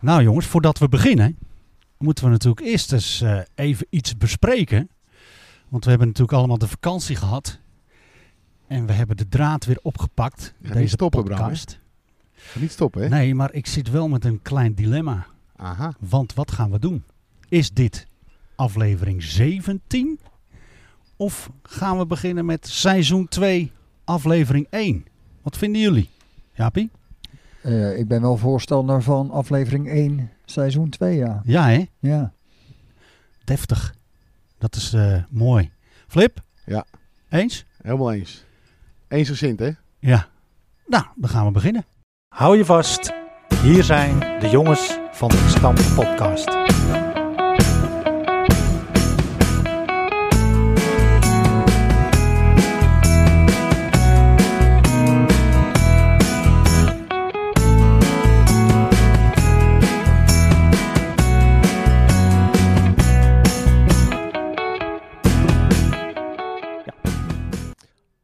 Nou jongens, voordat we beginnen, moeten we natuurlijk eerst eens eh, even iets bespreken. Want we hebben natuurlijk allemaal de vakantie gehad. En we hebben de draad weer opgepakt. Je gaat deze niet stoppen, Bram, hè? podcast. Niet stoppen, hè? nee, maar ik zit wel met een klein dilemma. Aha. Want wat gaan we doen? Is dit aflevering 17? Of gaan we beginnen met seizoen 2, aflevering 1? Wat vinden jullie? Jaapie? Eh, ik ben wel voorstander van aflevering 1, seizoen 2, ja. Ja hè? Ja, Deftig. Dat is eh, mooi. Flip? Ja. Eens? Helemaal eens. Eensgezind, hè? Ja. Nou, dan gaan we beginnen. Hou je vast. Hier zijn de jongens van de Stam Podcast.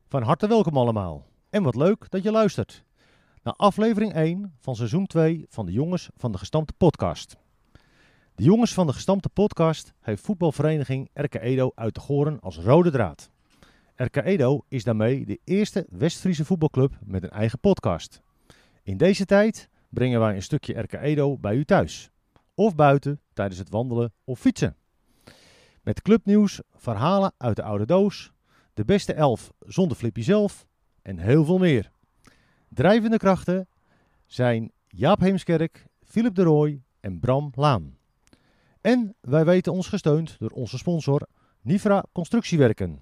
Van harte welkom allemaal. En wat leuk dat je luistert. Naar aflevering 1 van seizoen 2 van de Jongens van de Gestampte Podcast. De Jongens van de Gestampte Podcast heeft voetbalvereniging RK Edo uit de Goren als rode draad. RK Edo is daarmee de eerste West-Friese voetbalclub met een eigen podcast. In deze tijd brengen wij een stukje RK Edo bij u thuis. Of buiten tijdens het wandelen of fietsen. Met clubnieuws, verhalen uit de oude doos, de beste elf zonder Flippy zelf en heel veel meer. Drijvende krachten zijn Jaap Heemskerk, Philip de Rooij en Bram Laan. En wij weten ons gesteund door onze sponsor Nifra Constructiewerken.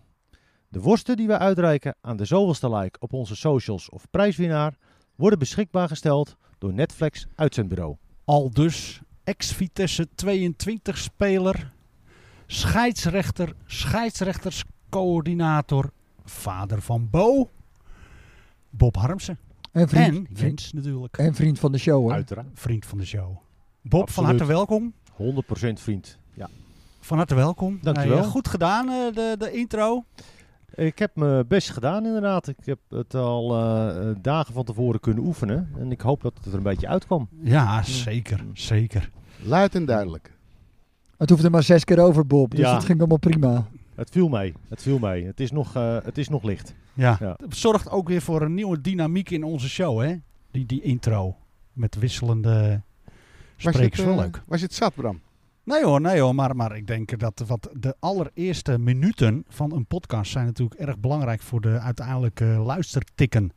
De worsten die wij uitreiken aan de zoveelste like op onze socials of prijswinnaar worden beschikbaar gesteld door Netflix Uitzendbureau. Al dus ex-Vitesse 22-speler, scheidsrechter, scheidsrechterscoördinator, vader van Bo, Bob Harmsen. en vriend, En Jens natuurlijk, en vriend van de show, hè. Uiteraard. 100% vriend van de show. Bob, van Absoluut. harte welkom. vriend. Ja. Van harte welkom. Dankjewel. eh, goed gedaan, eh, de, de intro. Ik heb mijn best gedaan inderdaad. Ik heb het al eh, eh, dagen van tevoren kunnen oefenen. En ik hoop dat het er een beetje uitkwam. Ja, zeker, zeker. Luid en duidelijk. Het hoefde maar zes keer over, Bob, dus Ja. dat ging allemaal prima. Het viel mee. Het viel mee. Het is nog, eh, het is nog licht. Ja. Ja. Het zorgt ook weer voor een nieuwe dynamiek in onze show, hè? Die, die intro. Met wisselende Was je sprekers. het, Wel eh, leuk. Was je het zat, Bram? Nee hoor, nee hoor. Maar, maar ik denk dat wat de allereerste minuten van een podcast zijn natuurlijk erg belangrijk voor de uiteindelijke luistertikken.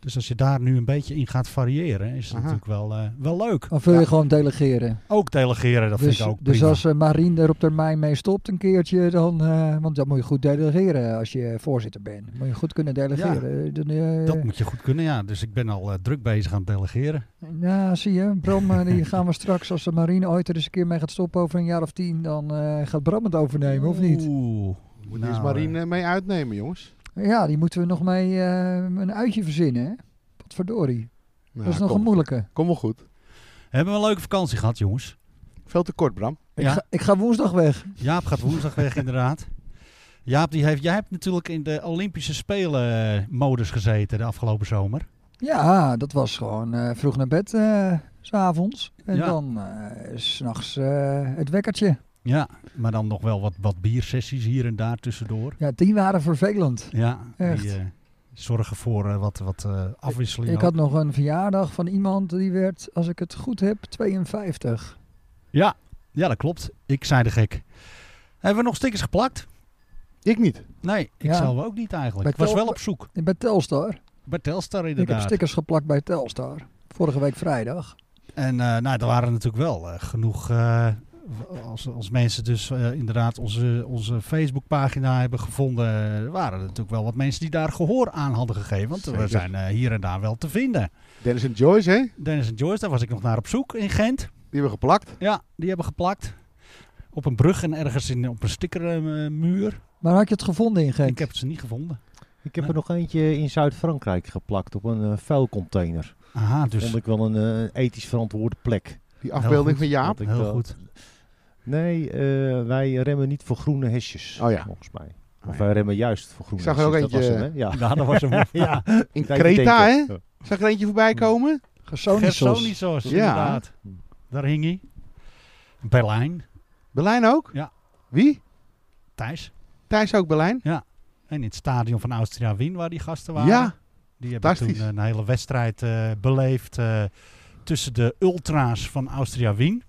Dus als je daar nu een beetje in gaat variëren, is dat Aha. natuurlijk wel, eh, wel leuk. Of wil Ja. je gewoon delegeren? Ook delegeren, dat dus vind ik ook dus prima. als eh, Marien er op termijn mee stopt een keertje, dan, eh, want dan moet je goed delegeren als je voorzitter bent. Moet je goed kunnen delegeren. Dan, eh, Dat moet je goed kunnen, ja. Dus ik ben al eh, druk bezig aan het delegeren. Ja, zie je, Bram, eh, die gaan we straks, als de Marien ooit er eens een keer mee gaat stoppen over een jaar of tien, dan eh, gaat Bram het overnemen, of niet? Oeh. Moet Nou, eerst Marien eh, mee uitnemen, jongens. Ja, die moeten we nog mee eh, een uitje verzinnen, hè? Potverdorie. Nou, dat is nog kom, een moeilijke. Kom wel goed. Hebben we een leuke vakantie gehad, jongens? Veel te kort, Bram. Ik, Ja. ga, ik ga woensdag weg. Jaap gaat woensdag weg, inderdaad. Jaap, die heeft, jij hebt natuurlijk in de Olympische Spelen-modus gezeten de afgelopen zomer. Ja, dat was gewoon eh, vroeg naar bed, eh, s s'avonds. En Ja. dan eh, s s'nachts eh, het wekkertje. Ja, maar dan nog wel wat, wat biersessies hier en daar tussendoor. Ja, die waren vervelend. Ja, Echt. die eh, zorgen voor eh, wat, wat eh, afwisseling. Ik ook. had nog een verjaardag van iemand die werd, als ik het goed heb, 52. ja, ja, dat klopt. Ik zei de gek. Hebben we nog stickers geplakt? Ik niet. Nee, ik Ja. zelf ook niet eigenlijk. Bij Ik was Tel- wel op zoek. Bij Telstar. Bij Telstar Ik heb inderdaad. stickers geplakt bij Telstar. Vorige week vrijdag. En eh, nou, er waren natuurlijk wel eh, genoeg. eh, als, als mensen dus eh, inderdaad onze, onze Facebookpagina hebben gevonden, eh, waren er natuurlijk wel wat mensen die daar gehoor aan hadden gegeven. Want we Zeker. zijn eh, hier en daar wel te vinden. Dennis en Joyce, hè? Die Dennis en Joyce, daar was ik nog naar op zoek in Gent. hebben we geplakt. Ja, die hebben geplakt. Op een brug en ergens in, op een stickermuur. Maar had je het gevonden in Genk? ik heb ze niet gevonden. Ik heb Ja. er nog eentje in Zuid-Frankrijk geplakt op een eh, vuilcontainer. Aha, dus Vond ik wel een eh, ethisch verantwoorde plek. Die goed. afbeelding van Jaap. Want ik, heel eh, goed. Nee, eh, wij remmen niet voor groene hesjes. Oh ja. Volgens mij. Of eh, Oh ja. wij remmen juist voor groene Ik zag er hesjes. ook Dat eentje, was hem, hè? Ja. Ja, dat was hem. ja. Ja. In Kijk, ik Creta, denk eh, hè? het. Zag er eentje voorbij komen? Gersonisos. Gersonisos, Ja. inderdaad. daar hing hij. Berlijn, Berlijn ook? Ja. Wie? Thijs. Thijs ook Berlijn? En in het stadion van Austria Wien, waar die gasten waren. Ja. die hebben toen fantastisch. een hele wedstrijd eh, beleefd eh, tussen de ultra's van Austria Wien.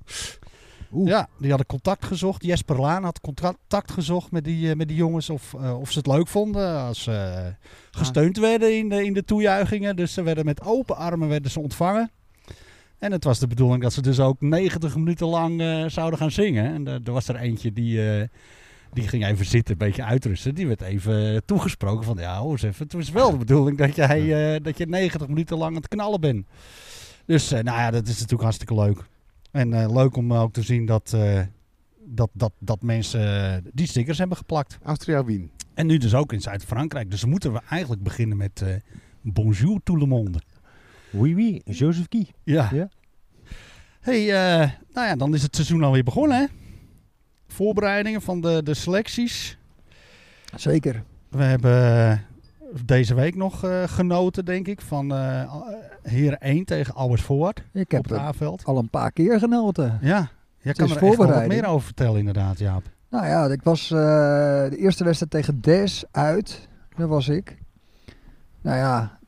Oeh. Ja, die hadden contact gezocht. Jesper Laan had contact gezocht met die, eh, met die jongens of, eh, of ze het leuk vonden als ze eh, Ah. gesteund werden in de, in de toejuichingen. Dus ze werden met open armen werden ze ontvangen. En het was de bedoeling dat ze dus ook 90 minuten lang eh, zouden gaan zingen. En eh, er- er was er eentje die, eh, die ging even zitten, een beetje uitrusten. Die werd even eh, toegesproken van, ja hoor eens even, het was wel de bedoeling dat, jij, eh, dat je 90 minuten lang aan het knallen bent. Dus eh, nou ja, dat is natuurlijk hartstikke leuk. En eh, leuk om ook te zien dat, eh, dat, dat, dat mensen eh, die stickers hebben geplakt. Austria Wien. En nu dus ook in Zuid-Frankrijk. Dus moeten we eigenlijk beginnen met eh, bonjour tout le monde. Oui, oui, Joseph Guy. Ja. Ja. hey, eh, nou ja, dan is het seizoen alweer begonnen hè. Voorbereidingen van de, de selecties. Zeker. We hebben eh, deze week nog eh, genoten, denk ik, van eh Heren 1 tegen Albersvoort Ik op heb het het A-veld. al een paar keer genoten. Ja, jij kan is er echt wel wat voorbereiding. meer over vertellen inderdaad, Jaap. Nou ja, ik was eh, de eerste wedstrijd tegen Des uit. Daar was ik. Nou ja,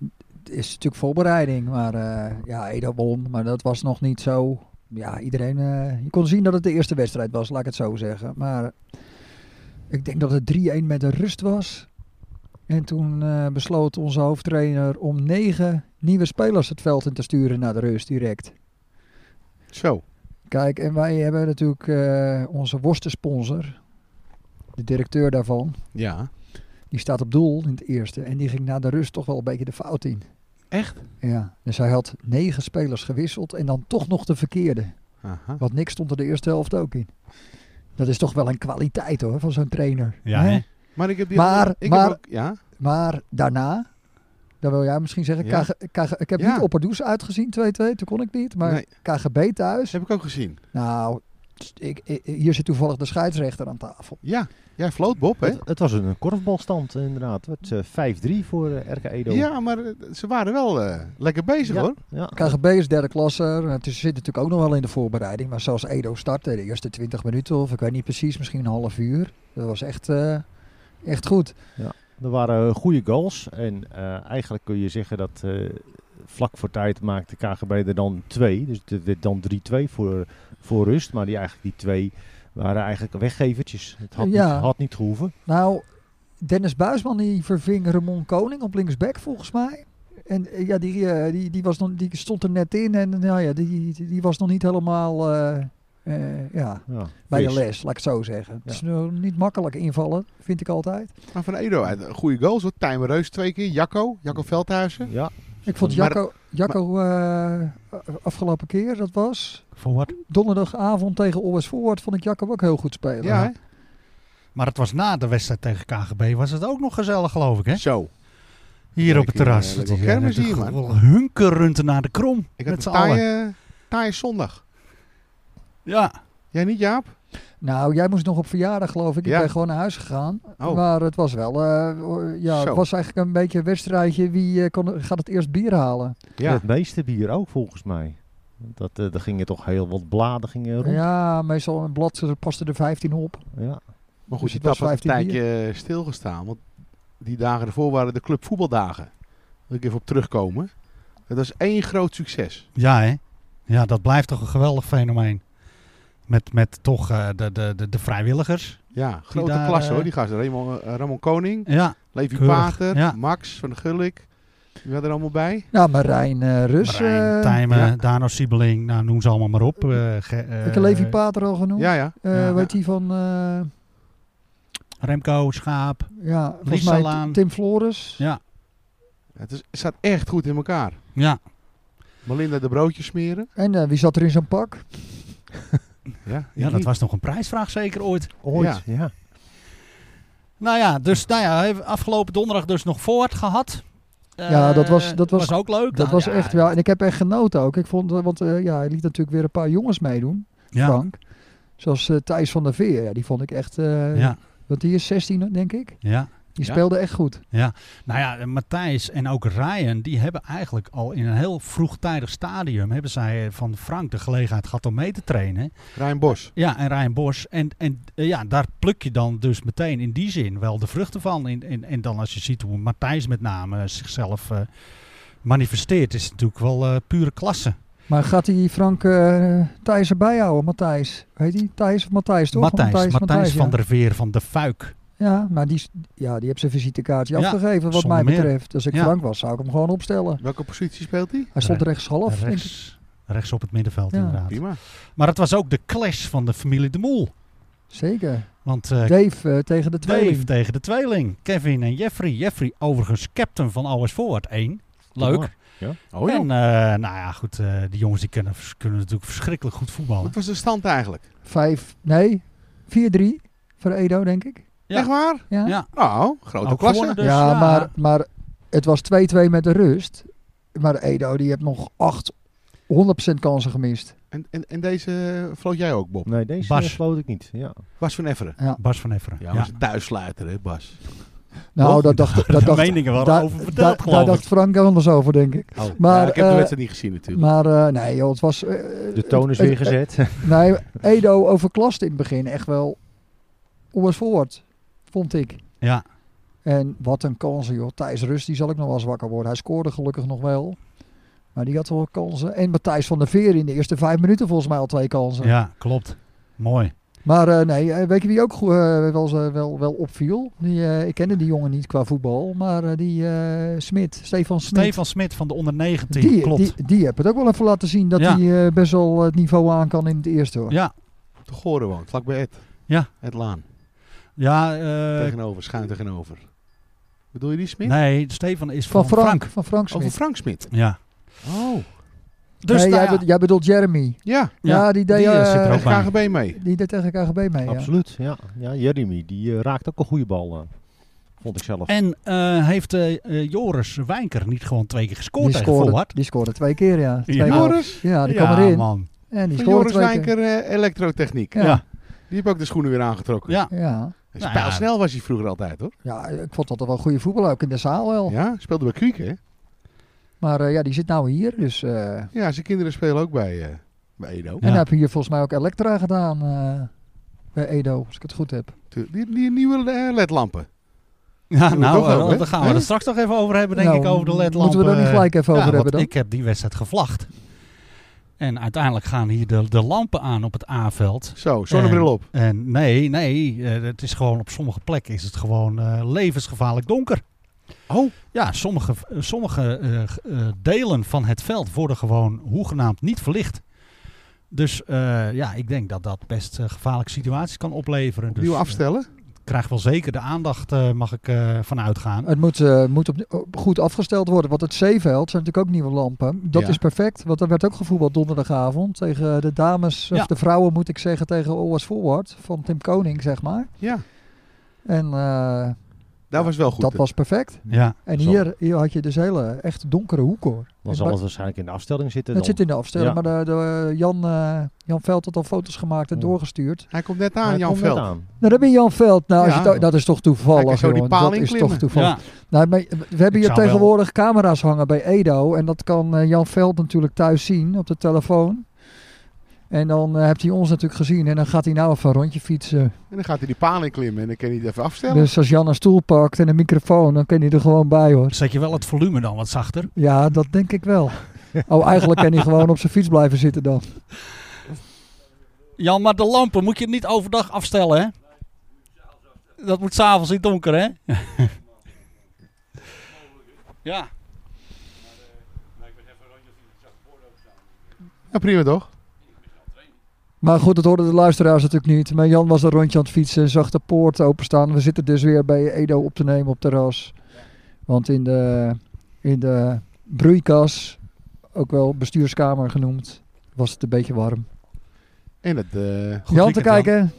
het is natuurlijk voorbereiding. Maar eh, ja, Edo won. Maar dat was nog niet zo. Ja, iedereen. eh, je kon zien dat het de eerste wedstrijd was, laat ik het zo zeggen. Maar ik denk dat het 3-1 met de rust was. En toen eh, besloot onze hoofdtrainer om negen nieuwe spelers het veld in te sturen naar de rust direct. Zo. Kijk, en wij hebben natuurlijk eh, onze worstensponsor, de directeur daarvan, Ja. die staat op doel in het eerste. En die ging na de rust toch wel een beetje de fout in. Echt? Ja, dus hij had negen spelers gewisseld en dan toch nog de verkeerde. Aha. Want niks stond er de eerste helft ook in. Dat is toch wel een kwaliteit hoor, van zo'n trainer. Ja, Hè? hè? Maar ik heb die Maar- andere- ik maar- heb ook, ja. Maar daarna, daar wil jij misschien zeggen, Ja. KG KG ik heb Ja. niet Opperdoes uitgezien 2-2, toen kon ik niet. Maar Nee. KGB Dat thuis, heb ik ook gezien. nou, ik, ik- hier zit toevallig de scheidsrechter aan tafel. Ja. Jij floot Bob, hè? Het, het was een korfbalstand inderdaad. Het werd eh, 5-3 voor eh, RK Edo. Ja, maar eh, ze waren wel eh, lekker bezig Ja. hoor. Ja. KGB is derde klasse. Het is- zit natuurlijk ook nog wel in de voorbereiding. Maar zoals Edo startte, de eerste 20 minuten of ik weet niet precies, misschien een half uur. Dat was echt, eh, echt goed. Er waren eh, goede goals. En eh, eigenlijk kun je zeggen dat eh, vlak voor tijd maakte KGB er dan twee. Dus het werd dan 3-2 voor, voor rust. Maar die, eigenlijk die twee waren eigenlijk weggevertjes. Het had, Ja. niet, had niet gehoeven. Nou, Dennis Buisman die verving Ramon Koning op linksback volgens mij. En eh, ja, die, eh, die, die, was nog, die stond er net in en eh, nou ja, die, die- die was nog niet helemaal eh, eh, ja, Ja. bij de Fris. les, laat ik het zo zeggen. Het Ja. is nog niet makkelijk invallen, vind ik altijd. Maar van Edo uit eh, goede goals. Wat Tijmen Reus twee keer. Jacco. Jacco Veldhuizen. Ja, Ik vond Maar- Jacco, Jacco eh, afgelopen keer, dat was... Voor wat? donderdagavond tegen OS Forward vond ik Jacob ook heel goed spelen. Ja, Maar het was na de wedstrijd tegen KGB, was het ook nog gezellig, geloof ik, hè? hè? Zo. Hier op het Lekker, terras. eh, Dat lekker is, eh, kermis dat hier, is man. wel Hunkerend naar de krom. Ik had met z'n een allen. taaie, taaie zondag. Ja. Jij niet, Jaap? Nou, jij moest nog op verjaardag geloof ik. Ik Ja. ben gewoon naar huis gegaan. Oh. Maar het was wel, eh, ja, Zo. het was eigenlijk een beetje een wedstrijdje. Wie eh, kon, gaat het eerst bier halen? Ja. het meeste bier ook volgens mij. Want Dat, eh, er gingen toch heel wat bladen gingen rond. Ja. Ja, meestal een blad er paste er 15 op. Maar goed, die Dus het was tap had een 15 bier. tijdje eh, stilgestaan. Want die dagen ervoor waren de clubvoetbaldagen. Daar wil ik even op terugkomen. Dat was één groot succes. ja, hè? Ja, dat blijft toch een geweldig fenomeen. Met, met toch eh, de, de, de, de vrijwilligers. Ja, grote daar, klasse eh, hoor, die gasten. Ramon, eh, Ramon Koning, Ja, Levi keurig, Pater, ja. Max van de Gulik. Die waren er allemaal bij. Nou, Marijn eh Rus. Marijn, eh, Tijmen, ja. Dano Siebeling, nou, noem ze allemaal maar op. eh ge, eh, ik heb Levi Pater al genoemd. Ja, ja. Eh, Ja. weet die van, eh, Remco, Schaap. ja, volgens mij Riessalaan. Tim Flores. Ja, Het, is, het staat echt goed in elkaar. ja. Melinda de broodjes smeren. En eh, wie zat er in zijn pak? Ja, ja dat was nog een prijsvraag zeker ooit. Ooit, ja. Nou ja, dus nou ja, even afgelopen donderdag dus nog voort gehad. Ja, dat was- Eh, dat was- ook leuk. Dat Nou, was ja, echt, ja. En ik heb echt genoten ook. Ik vond, eh, want eh, ja, hij liet natuurlijk weer een paar jongens meedoen. Ja, Frank. Zoals eh, Thijs van der Veer, ja, die vond ik echt. eh, ja, Want die is 16, denk ik. ja. Die Ja? speelde echt goed. Ja, nou ja, eh, Matthijs en ook Ryan, die hebben eigenlijk al in een heel vroegtijdig stadium, hebben zij eh, van Frank de gelegenheid gehad om mee te trainen. Rijn Bos. Ja, en Ryan Bos. En, en eh, ja, daar pluk je dan dus meteen in die zin wel de vruchten van. En, en, en dan als je ziet hoe Matthijs met name eh, zichzelf eh, manifesteert, is het natuurlijk wel eh, pure klasse. Maar gaat hij Frank eh Thijs erbij houden, Matthijs? Weet hij? Thijs of Matthijs, toch? Matthijs, Matthijs van ja. der Veer van de Fuik. Ja, maar die, is- ja, die heeft zijn visitekaartje Ja, afgegeven, wat zonder mij meer. betreft. Als ik Ja. Frank was, zou ik hem gewoon opstellen. Welke positie speelt hij? Hij stond Re- rechtshalf. denk ik. Rechts, rechts op het middenveld Ja. inderdaad. Prima. Maar het was ook de clash van de familie De Moel. Zeker. Want eh, Dave eh, tegen de tweeling. Dave tegen de tweeling. Kevin en Jeffrey. Jeffrey overigens captain van Always Forward 1. Leuk. Oh ja. en eh, nou ja, goed, eh, die jongens die kunnen, vers- kunnen natuurlijk verschrikkelijk goed voetballen. Wat was de stand eigenlijk? Vijf, nee, 4-3 voor Edo, denk ik. Ja. Echt waar? Ja, Ja, Nou, grote Ook klasse. gewonnen dus, ja, ja. Maar, maar het was 2-2 met de rust. Maar Edo, die heeft nog acht 100% kansen gemist. En, en, en deze floot jij ook, Bob? Nee, deze Bas. eh, floot ik niet. Ja. Bas van Efferen. Bas van Efferen. Ja, Ja, was een thuissluiter, hè, Bas? Nou, Toch? dat dacht, dat De dacht, meningen waren daar- over verteld, daar- geloof daar dacht ik. Frank anders over, denk ik. Oh, Maar, ja, ik heb eh, de wedstrijd niet gezien natuurlijk. Maar eh, nee, joh, het was... eh, De toon is weer het- gezet. Nee, Edo overklaste in het begin echt wel Oers Forward, vond ik. Ja. En wat een kansen, joh. Thijs Rust, die zal ik nog wel eens wakker worden. Hij scoorde gelukkig nog wel. Maar die had wel kansen. En Matthijs van der Veer in de eerste vijf minuten volgens mij al twee kansen. Ja, klopt. Mooi. Maar eh, nee, eh, weet je wie ook goe- eh, wel, eens, eh, wel, wel opviel? Die, eh, ik kende die jongen niet qua voetbal. Maar eh, die eh Smit, Stefan Smit. Stefan Smit van de onder 19. die, klopt. Die, die heb het ook wel even laten zien dat Ja. hij eh, best wel het niveau aan kan in het eerste hoor. ja, De Goren woont, vlakbij Ed. Ja. Ed Laan. ja eh, tegenover, schuin tegenover. Bedoel je die Smit? nee, Stefan is Van van, Frank, van Frank Over Smit. Frank Smit. Ja. Oh. Dus nee, nou jij, ja, be- jij bedoelt Jeremy. Ja, Ja, ja, die deed, die, eh, eh, zit er ook bij. KGB mee. die deed tegen KGB mee. Ja. Absoluut. Ja. ja, Jeremy, die eh, raakt ook een goede bal. eh, vond ik zelf. En eh, heeft eh, eh, Joris Wijnker niet gewoon twee keer gescoord die, tegen scoorde, Volward? die scoorde twee keer, ja. Twee Ja. maal. Joris? Ja, die kwam ja, erin. man. En Nou, die Van scoorde Joris twee keer. Wijnker eh, elektrotechniek. Ja. Ja. Die heeft ook de schoenen weer aangetrokken. Ja. Ja. Hij Nou is ja. pijlsnel was hij vroeger altijd, hoor. ja, ik vond dat er wel goede voetbal ook in de zaal wel. Ja, speelde bij Kuik, hè? Maar eh, ja, die zit nou hier. Dus, eh, Ja, zijn kinderen spelen ook bij, eh, bij Edo. Ja. En heb hier volgens mij ook Elektra gedaan eh, bij Edo, als ik het goed heb. Die, die nieuwe eh, ledlampen. Ja, we nou, toch eh, ook, hè? daar gaan we Hè? het straks nog even over hebben, denk Nou, ik, over de ledlampen. eh, Moeten we er niet gelijk even Ja, over want hebben dan? ik heb die wedstrijd gevlacht. En uiteindelijk gaan hier de, de lampen aan op het A-veld. Zo, zonnebril En- op. En nee, nee, eh, het is gewoon op sommige plekken is het gewoon eh, levensgevaarlijk donker. Oh. Ja, sommige, sommige eh, g- eh, delen van het veld worden gewoon hoegenaamd niet verlicht. Dus eh, ja, ik denk dat dat best eh, gevaarlijke situaties kan opleveren. Dus, Nieuw eh, afstellen. krijgt wel zeker de aandacht, eh, mag ik eh van uitgaan. Het moet, eh, moet op, op- goed afgesteld worden, want het zeeveld zijn natuurlijk ook nieuwe lampen. Dat Ja. is perfect, want er werd ook gevoetbald donderdagavond tegen de dames, Ja. of de vrouwen moet ik zeggen, tegen Always Forward van Tim Koning, zeg maar. Ja, En eh, dat was wel goed. dat was perfect. Ja, En Zo. hier, hier had je dus hele echt donkere hoeken hoor. Dan zal het waarschijnlijk in de afstelling zitten. Het dan. zit in de afstelling, Ja. maar de, de, Jan, eh, Jan Veld had al foto's gemaakt en Ja. doorgestuurd. Hij komt net aan, Hij Jan komt net Veld. aan. Nou, daar ben je Jan Veld. Nou, als Ja. je dat- dat is toch toevallig. Hij kan zo die jongen. paal dat is inklimmen. toch toevallig. ja, Nou, maar we hebben hier zou wel- tegenwoordig camera's hangen bij Edo. En dat kan eh, Jan Veld natuurlijk thuis zien op de telefoon. En dan eh, heeft hij ons natuurlijk gezien. En dan gaat hij nou even een rondje fietsen. En dan gaat hij die paal in klimmen en dan kan hij het even afstellen. Dus als Jan een stoel pakt en een microfoon, dan kan hij er gewoon bij hoor. zet je wel het volume dan wat zachter. Ja, dat denk ik wel. Oh, eigenlijk kan hij gewoon op zijn fiets blijven zitten dan. Jan, maar de lampen moet je niet overdag afstellen, hè? Dat moet s'avonds in het donker, hè? ja. Ja, prima toch? Maar goed, dat hoorden de luisteraars natuurlijk niet. Maar Jan was een rondje aan het fietsen en zag de poort openstaan. We zitten dus weer bij Edo op te nemen op terras. Want in de, in de broeikas, ook wel bestuurskamer genoemd, was het een beetje warm. En het, eh, Goed Jan te weekend, Jan. kijken.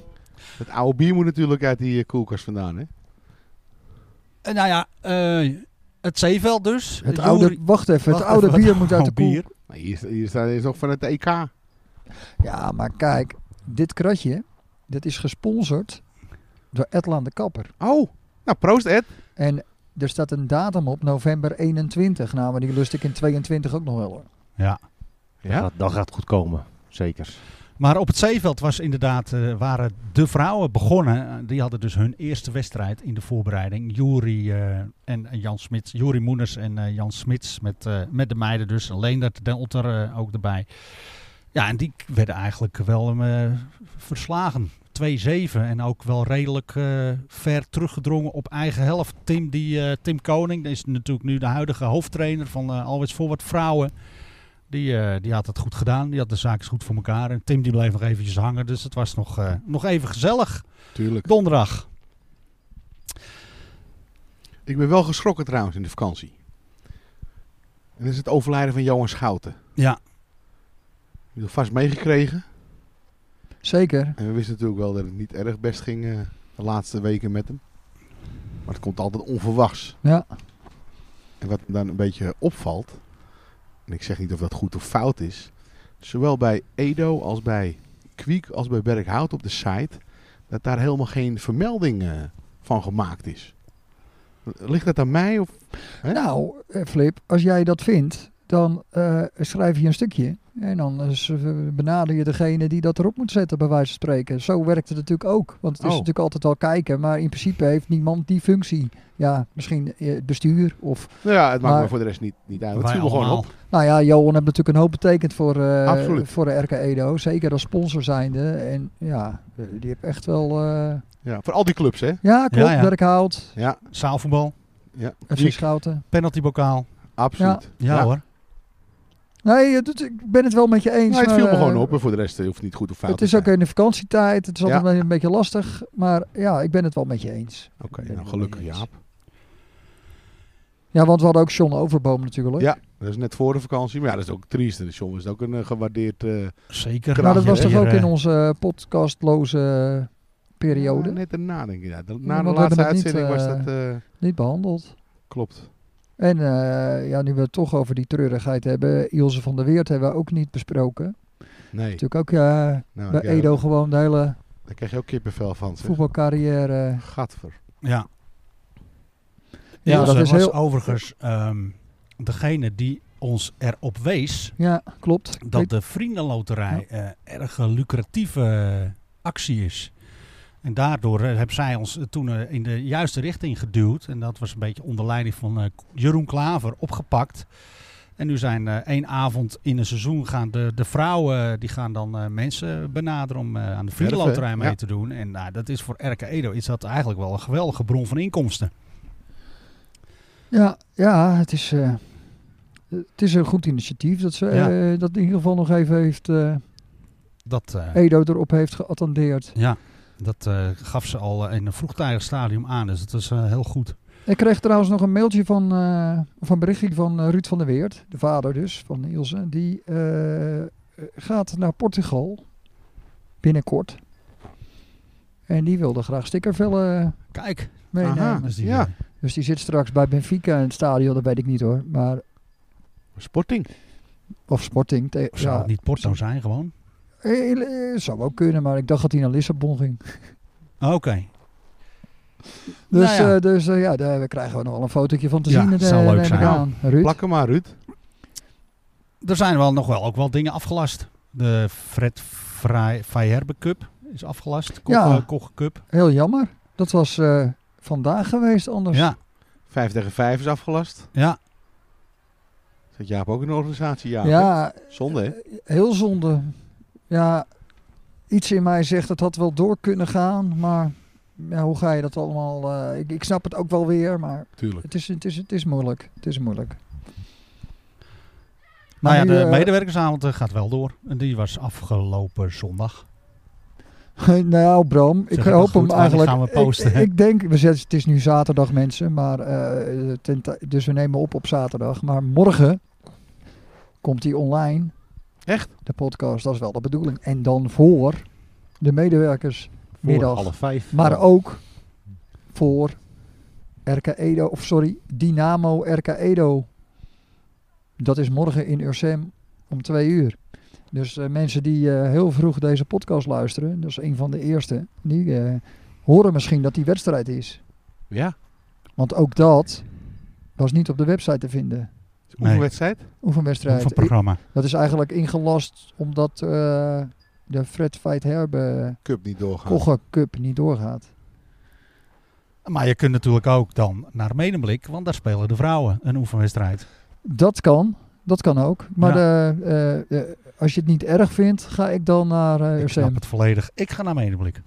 het oude bier moet natuurlijk uit die eh, koelkast vandaan. Hè? Eh, Nou ja, eh, het zeeveld dus. Het Eh, oude, Joeri- wacht even, het Wacht oude even, bier moet uit de oude koel. bier. Maar hier, sta- hier staat is nog van het EK. Ja, maar kijk, dit kratje, dat is gesponsord door Edlaan de Kapper. Oh, Nou, proost Ed. En er staat een datum op, november 21. Nou, maar die lust ik in 22 ook nog wel hoor. Ja. Dan, Ja? gaat, dan gaat het goed komen. Zeker. Maar op het zeeveld was inderdaad, eh, waren de vrouwen begonnen. Die hadden dus hun eerste wedstrijd in de voorbereiding. Juri eh, en en Jan Smits. Juri Moeners en eh, Jan Smits met, eh, met de meiden dus. Leendert Delter eh, ook erbij. Ja, en die k- werden eigenlijk wel eh, verslagen. 2-7 en ook wel redelijk eh, ver teruggedrongen op eigen helft. Tim, die, eh, Tim Koning, die is natuurlijk nu de huidige hoofdtrainer van eh Alwets Forward Vrouwen. Die, eh, die had het goed gedaan. Die had de zaakjes goed voor elkaar. En Tim die bleef nog eventjes hangen. Dus het was nog, eh, nog even gezellig. Tuurlijk. Donderdag. Ik ben wel geschrokken trouwens in de vakantie. En dat is het overlijden van Johan Schouten. Heb Ja, je dat vast meegekregen? Zeker. En we wisten natuurlijk wel dat het niet erg best ging eh, de laatste weken met hem. Maar het komt altijd onverwachts. Ja. En wat me dan een beetje opvalt, en ik zeg niet of dat goed of fout is, zowel bij Edo als bij Kwiek als bij Berghout op de site, dat daar helemaal geen vermelding eh, van gemaakt is. Ligt dat aan mij? Of, hè? Nou, eh, Flip, als jij dat vindt, dan eh, schrijf je een stukje. En dan eh, s- benader je degene die dat erop moet zetten, bij wijze van spreken. Zo werkt het natuurlijk ook. Want het is Oh. natuurlijk altijd al kijken, maar in principe heeft niemand die functie. Ja, misschien eh, het bestuur of Nou ja, het maakt Maar- me voor de rest niet, niet uit. Het wij viel me gewoon allemaal. op. Nou ja, Johan heeft natuurlijk een hoop betekend voor, eh, Absoluut. voor de RK Edo. Zeker als sponsor zijnde. En ja, eh, die heeft echt wel... eh, Ja, voor al die clubs, hè? Ja, klopt. Ja, ja. Berkhout, Ja, Zaalvoetbal, ja. FC Schouten. penaltybokaal. absoluut. Ja, hoor. Nee, het doet- ik ben het wel met je eens. Nou, het viel me maar, gewoon eh, op. En voor de rest eh, hoeft het niet goed of fout Het is te ook zijn. in de vakantietijd. Het is altijd Ja. een beetje lastig. Maar ja, ik ben het wel met je eens. Oké, Ik ben nou, het wel met je gelukkig eens. Jaap. Ja, want we hadden ook John Overboom natuurlijk. Ja, dat is net voor de vakantie. Maar ja, dat is ook triest. En John is ook een eh, gewaardeerd... eh, Zeker. Maar Nou, dat Ja, was toch Hier, ook eh, in onze podcastloze periode ja, net daarna, denk ik. Ja. De- Ja, Na want we de hebben laatste het niet, uitzending was eh, dat... eh, niet behandeld. klopt. En eh, ja, nu we het toch over die treurigheid hebben. Ilse van der Weert hebben we ook niet besproken. Nee. Natuurlijk ook ja, Nou, bij ja, Edo gewoon de hele Daar krijg je ook kippenvel van. Zeg. voetbalcarrière. Gadver. Ja. Ja, Ja, dat dat is was heel- overigens ehm, degene die ons erop wees Ja, klopt. Ik dat weet- de Vriendenloterij eh, erg een lucratieve actie is. En daardoor eh, hebben zij ons eh, toen eh, in de juiste richting geduwd. En dat was een beetje onder leiding van eh, Jeroen Klaver opgepakt. En nu zijn eh, één avond in een seizoen gaan de, de vrouwen die gaan dan eh, mensen benaderen om eh, aan de vriendenloterij Werven, mee ja. te doen. En nou, dat is voor Erke Edo is dat eigenlijk wel een geweldige bron van inkomsten. ja, ja, het is, eh, het is een goed initiatief dat ze Ja. eh, dat in ieder geval nog even heeft, eh, Dat, eh, Edo erop heeft geattendeerd. ja, dat eh, gaf ze al eh, in een vroegtijdig stadium aan. Dus dat is eh, heel goed. Ik kreeg trouwens nog een mailtje van, eh, of een berichtje van eh, Ruud van der Weert, de vader dus van Ilse. Die eh, gaat naar Portugal binnenkort. En die wilde graag stickervellen Kijk, meenemen. Aha. Dus die, Ja. eh, Dus die zit straks bij Benfica in het stadion, dat weet ik niet hoor. Maar, Sporting. of Sporting. te- Of zou ja, het niet Porto zijn gewoon? Eh, eh, zou wel kunnen, maar ik dacht dat hij naar Lissabon ging. Ah, Oké. Dus, Nou ja. eh, dus eh, ja, daar krijgen we nog wel een fotootje van te Ja, zien. eh, zou leuk neem ik zijn. aan. Ruud? Plak hem maar, Ruud. Er zijn wel nog wel ook wel dingen afgelast. De Fred Vrij- Vijherbe Cup is afgelast. Kogge, Ja. Kogge Cup. Heel jammer. Dat was eh, vandaag geweest anders. Ja, Vijf tegen vijf is afgelast. ja. Zit Jaap ook in de organisatie, Jaap? hè? Ja, Eh, Zonde, hè? heel zonde. Ja, iets in mij zegt het had wel door kunnen gaan, maar ja, hoe ga je dat allemaal? eh, ik, ik snap het ook wel weer, maar Tuurlijk. het is, het is, het is moeilijk. Het is moeilijk. Nou ja, nu, de eh, medewerkersavond eh, gaat wel door. En die was afgelopen zondag. nou, Bram, ik Zeg het hoop maar goed, hem want die eigenlijk. gaan we posten, Ik, hè? ik denk, we zetten, het is nu zaterdag, mensen, maar eh, ten tij- dus we nemen op op zaterdag. Maar morgen komt die online. Echt? De podcast, dat is wel de bedoeling. En dan voor de medewerkers Voor middag. half vijf. Maar Ja. ook voor RK Edo, of sorry, Dynamo RK Edo. Dat is morgen in Ursem om twee uur. Dus eh, mensen die eh, heel vroeg deze podcast luisteren, dat is een van de eerste, die eh, horen misschien dat die wedstrijd is. Ja, Want ook dat was niet op de website te vinden. Nee. oefenwedstrijd. Oefenwedstrijd. Van programma. I- Dat is eigenlijk ingelast omdat eh, de Fred Fight Herbe Cup niet doorgaan. Kogge Cup niet doorgaat. Maar je kunt natuurlijk ook dan naar Medemblik, want daar spelen de vrouwen een oefenwedstrijd. Dat kan. Dat kan ook. Maar de, eh, eh, als je het niet erg vindt, ga ik dan naar eh Ik RCM. snap het volledig. Ik ga naar Medemblik.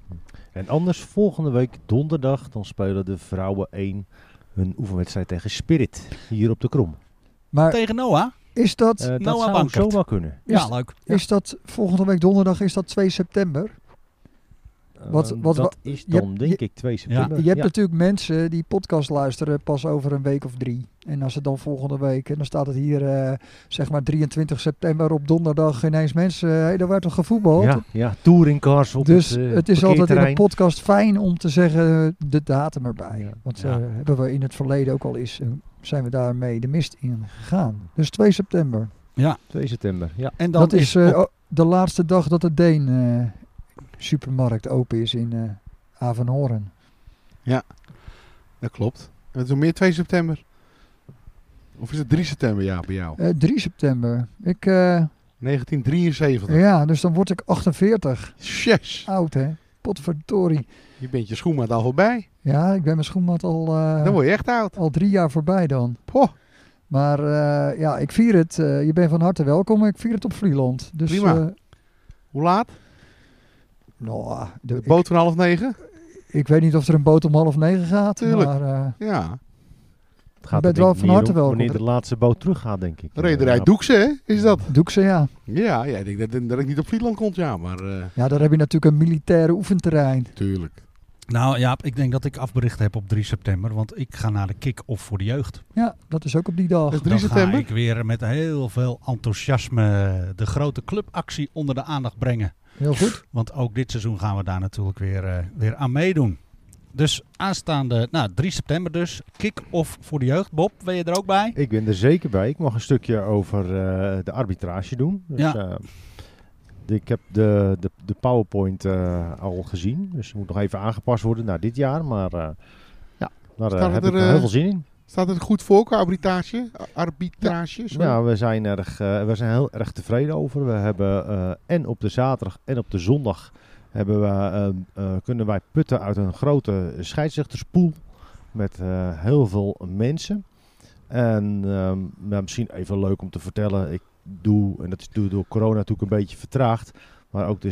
En anders volgende week donderdag, dan spelen de vrouwen 1 hun oefenwedstrijd tegen Spirit hier op de Krom. Maar Tegen Noah? is dat, Eh, dat Noah zou Bankert. zomaar kunnen. is, Ja, leuk. is dat volgende week donderdag, is dat 2 september? Wat- Eh, wat- dat wat- is je dan hebt- denk je- ik 2 september. Je hebt Ja. natuurlijk mensen die podcast luisteren pas over een week of drie. En als het dan volgende week, en dan staat het hier eh, zeg maar 23 september op donderdag ineens mensen, hé, daar werd toch gevoetbald? ja, ja, touringcars op dus het, het, eh, is altijd in parkeerterrein. een podcast fijn om te zeggen eh, de datum erbij. Ja. Want Ja. eh, hebben we in het verleden ook al eens, eh, zijn we daarmee de mist in gegaan. Dus 2 september. 2 september, ja. En dan dat is eh, op- o- de laatste dag dat de Deen eh, supermarkt open is in eh Avanhoren. Dat klopt. En het is nog meer 2 september. Of is het 3 september, ja, bij jou? Eh 3 september. Ik... eh, 1973. Ja, dus dan word ik 48. Yes! Oud, hè? Potverdorie. Je bent je schoenmaat al voorbij. Ja, ik ben mijn schoenmat al, eh, Dan word je echt oud. al drie jaar voorbij dan. Poh, Maar eh, ja, ik vier het. eh, je bent van harte welkom. Ik vier het op Vlieland. Dus, Prima. eh, hoe laat? nou, de- De ik- boot van half negen? ik, weet niet of er een boot om half negen gaat. Tuurlijk. Maar eh, Ja. Het gaat bent er denk wel ik van meer harte om welkom. Wanneer de laatste boot teruggaat, denk ik. Rederij Eh, Doekse, hè? Is dat? doe ik ze, ja. Ja, ja ik denk dat, dat ik niet op Friesland komt, ja, maar... eh, Ja, daar heb je natuurlijk een militaire oefenterrein. tuurlijk. Nou Jaap, ik denk dat ik afbericht heb op 3 september, want ik ga naar de kick-off voor de jeugd. Ja, dat is ook op die dag. Dat is 3 dan september? ga ik weer met heel veel enthousiasme de grote clubactie onder de aandacht brengen. Heel goed. Want ook dit seizoen gaan we daar natuurlijk weer, eh, weer aan meedoen. Dus aanstaande, nou 3 september dus, kick-off voor de jeugd. Bob, ben je er ook bij? Ik ben er zeker bij. Ik mag een stukje over eh, de arbitrage doen. Dus, Ja. eh, ik heb de, de, de PowerPoint eh, al gezien. Dus die moet nog even aangepast worden naar dit jaar. Maar eh, ja, daar eh, Staat het heb er, ik nog eh, heel veel zin in. Staat het goed voor qua arbitrage? A- Arbitrage, sorry. Ja, Nou, we zijn, erg, eh, we zijn heel erg tevreden over. We hebben eh, en op de zaterdag en op de zondag hebben we, eh, eh, kunnen wij putten uit een grote scheidsrechterspoel met eh, heel veel mensen. En ehm, nou, misschien even leuk om te vertellen, ik doe, en dat is door- door corona natuurlijk een beetje vertraagd, maar ook de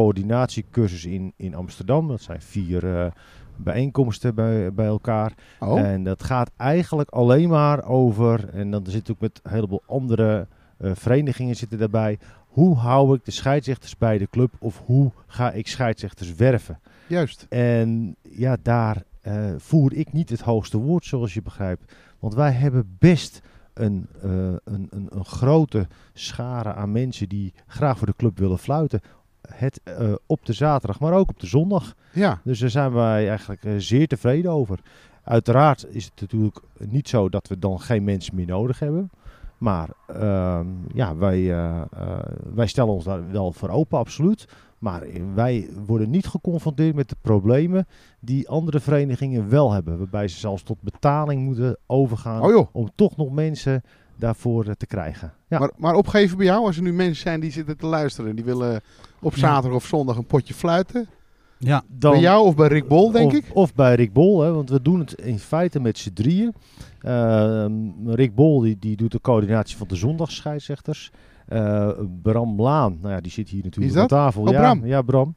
scheidsrechterscoördinatiecursus in, in Amsterdam. Dat zijn vier eh, bijeenkomsten bij, bij elkaar. Oh, En dat gaat eigenlijk alleen maar over, en dan zit ook met een heleboel andere eh, verenigingen zitten daarbij. Hoe hou ik de scheidsrechters bij de club of hoe ga ik scheidsrechters werven? juist. En ja, daar eh, voer ik niet het hoogste woord, zoals je begrijpt. Want wij hebben best een, eh, een, een, een grote schare aan mensen die graag voor de club willen fluiten. Het eh, op de zaterdag, maar ook op de zondag. Ja, Dus daar zijn wij eigenlijk eh, zeer tevreden over. Uiteraard is het natuurlijk niet zo dat we dan geen mensen meer nodig hebben. Maar ehm, ja, wij, eh, eh, wij stellen ons daar wel voor open, absoluut. Maar eh, wij worden niet geconfronteerd met de problemen die andere verenigingen wel hebben. Waarbij ze zelfs tot betaling moeten overgaan oh joh. om toch nog mensen daarvoor eh, te krijgen. Ja. Maar, maar opgeven bij jou, als er nu mensen zijn die zitten te luisteren... en die willen op Ja. zaterdag of zondag een potje fluiten... Ja, dan, bij jou of bij Rick Bol, denk of, ik? Of bij Rick Bol, hè, want we doen het in feite met z'n drieën. Ehm, Rick Bol die, die doet de coördinatie van de zondagsscheidsrechters. Eh, Bram Laan, nou ja, die zit hier natuurlijk Wie is aan tafel. Oh, ja, Bram. Ja, Bram.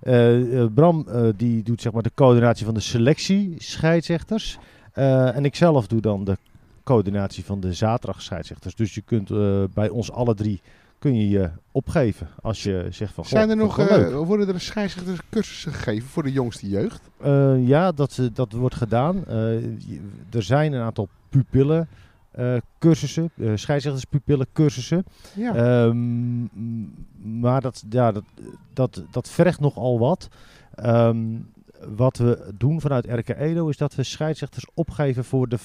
Eh, eh, Bram eh, die doet zeg maar de coördinatie van de selectie scheidsrechters. Eh, en ik zelf doe dan de coördinatie van de zaterdagscheidsrechters. Dus je kunt eh, bij ons alle drie kun je je opgeven als je zegt van... goh, Zijn er vond nog, ik wel leuk. eh, worden er scheidsrechterscursussen gegeven voor de jongste jeugd? Eh, ja, dat, eh, dat wordt gedaan. Eh, je- er zijn een aantal pupillen. eh, cursussen, eh scheidsrechterspupillen cursussen. Ja. Ehm, m- maar dat, ja, dat, dat, dat vergt nogal wat. Ehm, wat we doen vanuit RK Edo is dat we scheidsrechters opgeven voor de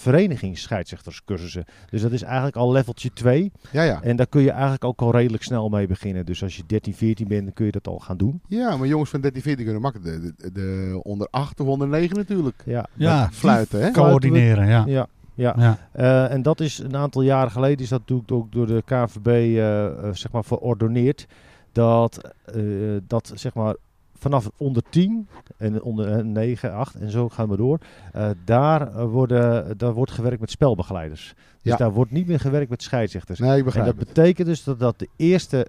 verenigingsscheidsrechterscursussen. Dus dat is eigenlijk al leveltje 2. Ja, ja. En daar kun je eigenlijk ook al redelijk snel mee beginnen. Dus als je 13, 14 bent, dan kun je dat al gaan doen. Ja, maar jongens van 13, 14 kunnen makkelijk. De, de, de onder 8 of onder 9 natuurlijk. Ja, Ja, Fluiten, hè? coördineren, ja. ja. ja. ja. Eh, en dat is een aantal jaren geleden, is dat natuurlijk ook door de KVB eh, eh, zeg maar verordoneerd. Dat, eh, dat zeg maar vanaf onder 10 en onder eh, 9, 8 en zo gaan we door. eh, daar, eh, worden, daar wordt gewerkt met spelbegeleiders. Dus Ja. daar wordt niet meer gewerkt met scheidsrechters. Nee, ik en begrijp dat het. betekent dus dat, dat de eerste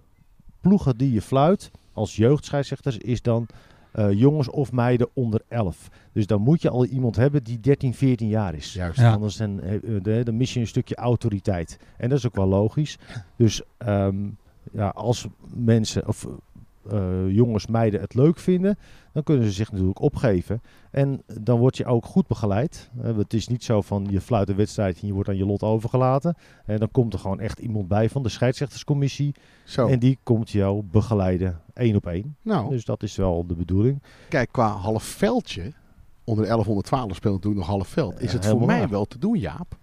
ploegen die je fluit als jeugdscheidsrechters is dan eh, jongens of meiden onder 11. Dus dan moet je al iemand hebben die 13, 14 jaar is. Juist. Ja. Anders dan, eh, eh, de- dan mis je een stukje autoriteit. En dat is ook wel logisch. Dus ehm, ja, als mensen of eh, jongens, meiden het leuk vinden, dan kunnen ze zich natuurlijk opgeven. En dan word je ook goed begeleid. Eh, het is niet zo van je fluit een wedstrijd en je wordt aan je lot overgelaten. En dan komt er gewoon echt iemand bij van de scheidsrechterscommissie. Zo. En die komt jou begeleiden één op één. Oh. nou, Dus dat is wel de bedoeling. kijk, qua half veldje. Onder 11, onder 12 speelt natuurlijk nog half veld. Is Ja, het voor helemaal mij waar. wel te doen, Jaap?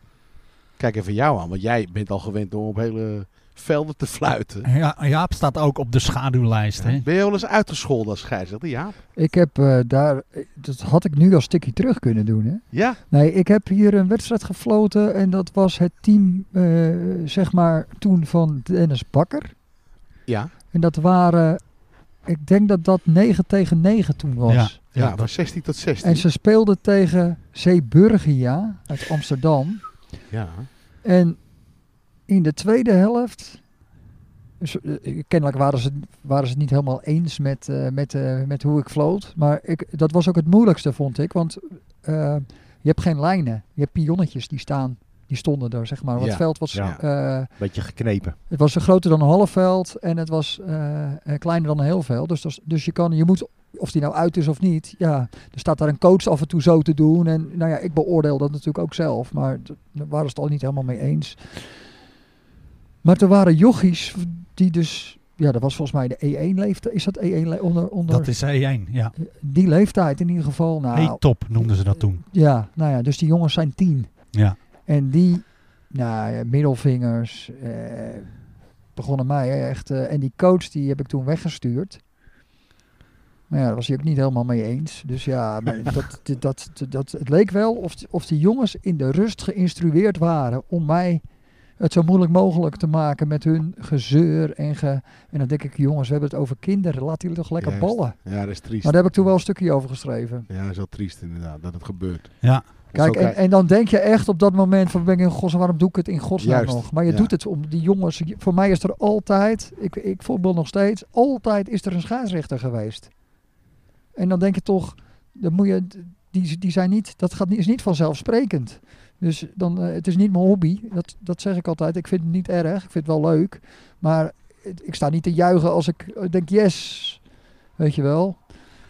Kijk even jou aan, want jij bent al gewend om op hele velden te fluiten. Ja, Jaap staat ook op de schaduwlijst. Hè? Ben je wel eens uitgescholden als scheidsrechter, Jaap? Ik heb eh, daar, dat had ik nu al stukje terug kunnen doen. Hè? Ja. Nee, ik heb hier een wedstrijd gefloten en dat was het team, eh, zeg maar, toen van Dennis Bakker. Ja, En dat waren, ik denk dat dat 9 tegen 9 toen was. Ja. ja, Ja, van 16 tot 16. En ze speelden tegen Zeeburgia uit Amsterdam. Ja. En in de tweede helft, dus, eh, kennelijk waren ze, waren ze het niet helemaal eens met, eh, met, eh, met hoe ik floot. Maar ik, dat was ook het moeilijkste, vond ik. Want eh, je hebt geen lijnen. Je hebt pionnetjes die staan. Die stonden er, zeg maar. Want Ja, het veld was... ja. eh, Beetje geknepen. het was groter dan een half veld en het was eh, eh, kleiner dan een heel veld. Dus, dat is- dus je, kan, je moet, of die nou uit is of niet, ja, er staat daar een coach af en toe zo te doen. En nou ja, ik beoordeel dat natuurlijk ook zelf, maar d- daar waren ze het al niet helemaal mee eens. Maar er waren jochies die dus, ja, dat was volgens mij de E1-leeftijd. Is dat E1 le- onder, onder Eh, Dat is E1, ja. die leeftijd in ieder geval? Nou, E-top noemden ze dat toen. ja, nou ja, dus die jongens zijn tien. Ja. En die, nou ja, middelvingers, eh, begonnen mij echt. eh, en die coach die heb ik toen weggestuurd. Maar ja, daar was hij ook niet helemaal mee eens. Dus ja, maar dat, dat, dat, dat, het leek wel of, of die jongens in de rust geïnstrueerd waren om mij het zo moeilijk mogelijk te maken met hun gezeur. En, ge, en dan denk ik, jongens, we hebben het over kinderen. Laat die toch lekker Juist. ballen. ja, dat is triest. Maar daar heb ik toen wel een stukje over geschreven. Ja, dat is wel triest inderdaad, dat het gebeurt. Ja. Kijk, Zo en, en dan denk je echt op dat moment van ben ik in godsnaam, waarom doe ik het in godsnaam Juist, nog? Maar je ja. doet het om die jongens. je- Voor mij is er altijd, ik, ik voetbal nog steeds, altijd is er een scheidsrechter geweest. En dan denk je toch, dan moet je, die, die zijn niet, dat gaat, niet- is niet vanzelfsprekend. Dus dan, eh, het is niet mijn hobby, dat, dat zeg ik altijd. Ik vind het niet erg, ik vind het wel leuk. Maar het- ik sta niet te juichen als ik eh, denk, yes, weet je wel.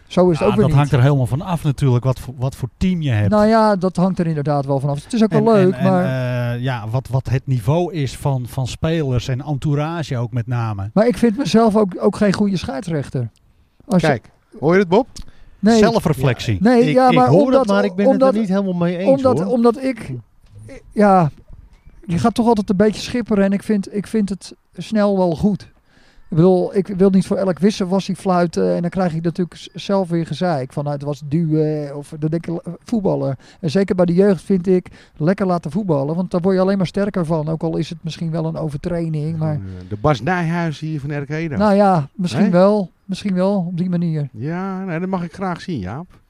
Zo is Ja, het ook weer dat niet. hangt er helemaal van af natuurlijk, wat voor, wat voor team je hebt. Nou ja, dat hangt er inderdaad wel vanaf. Het is ook wel En- leuk, en- en, maar, eh, ja, wat, wat het niveau is van, van spelers en entourage ook met name. maar ik vind mezelf ook, ook geen goede scheidsrechter. Als je- Kijk, hoor je het Bob? nee, Zelfreflectie. nee, ik, ja, ik maar hoor omdat, het, maar ik ben omdat, het er niet helemaal mee eens omdat, hoor. Hm. omdat ik, ja, je gaat toch altijd een beetje schipperen en ik vind, ik vind het snel wel goed. Ik bedoel, ik wil niet voor elk wisselwassie fluiten en dan krijg ik natuurlijk z- zelf weer gezeik van nou, het was duwen of dan denk ik eh, voetballen. En zeker bij de jeugd vind ik lekker laten voetballen, want daar word je alleen maar sterker van. Ook al is het misschien wel een overtraining, Hm. maar Eh, De Bas Nijhuis hier van Erkedo. Nou ja, misschien Nee? wel. Misschien wel, op die manier. Ja, nou, dat mag ik graag zien, Jaap.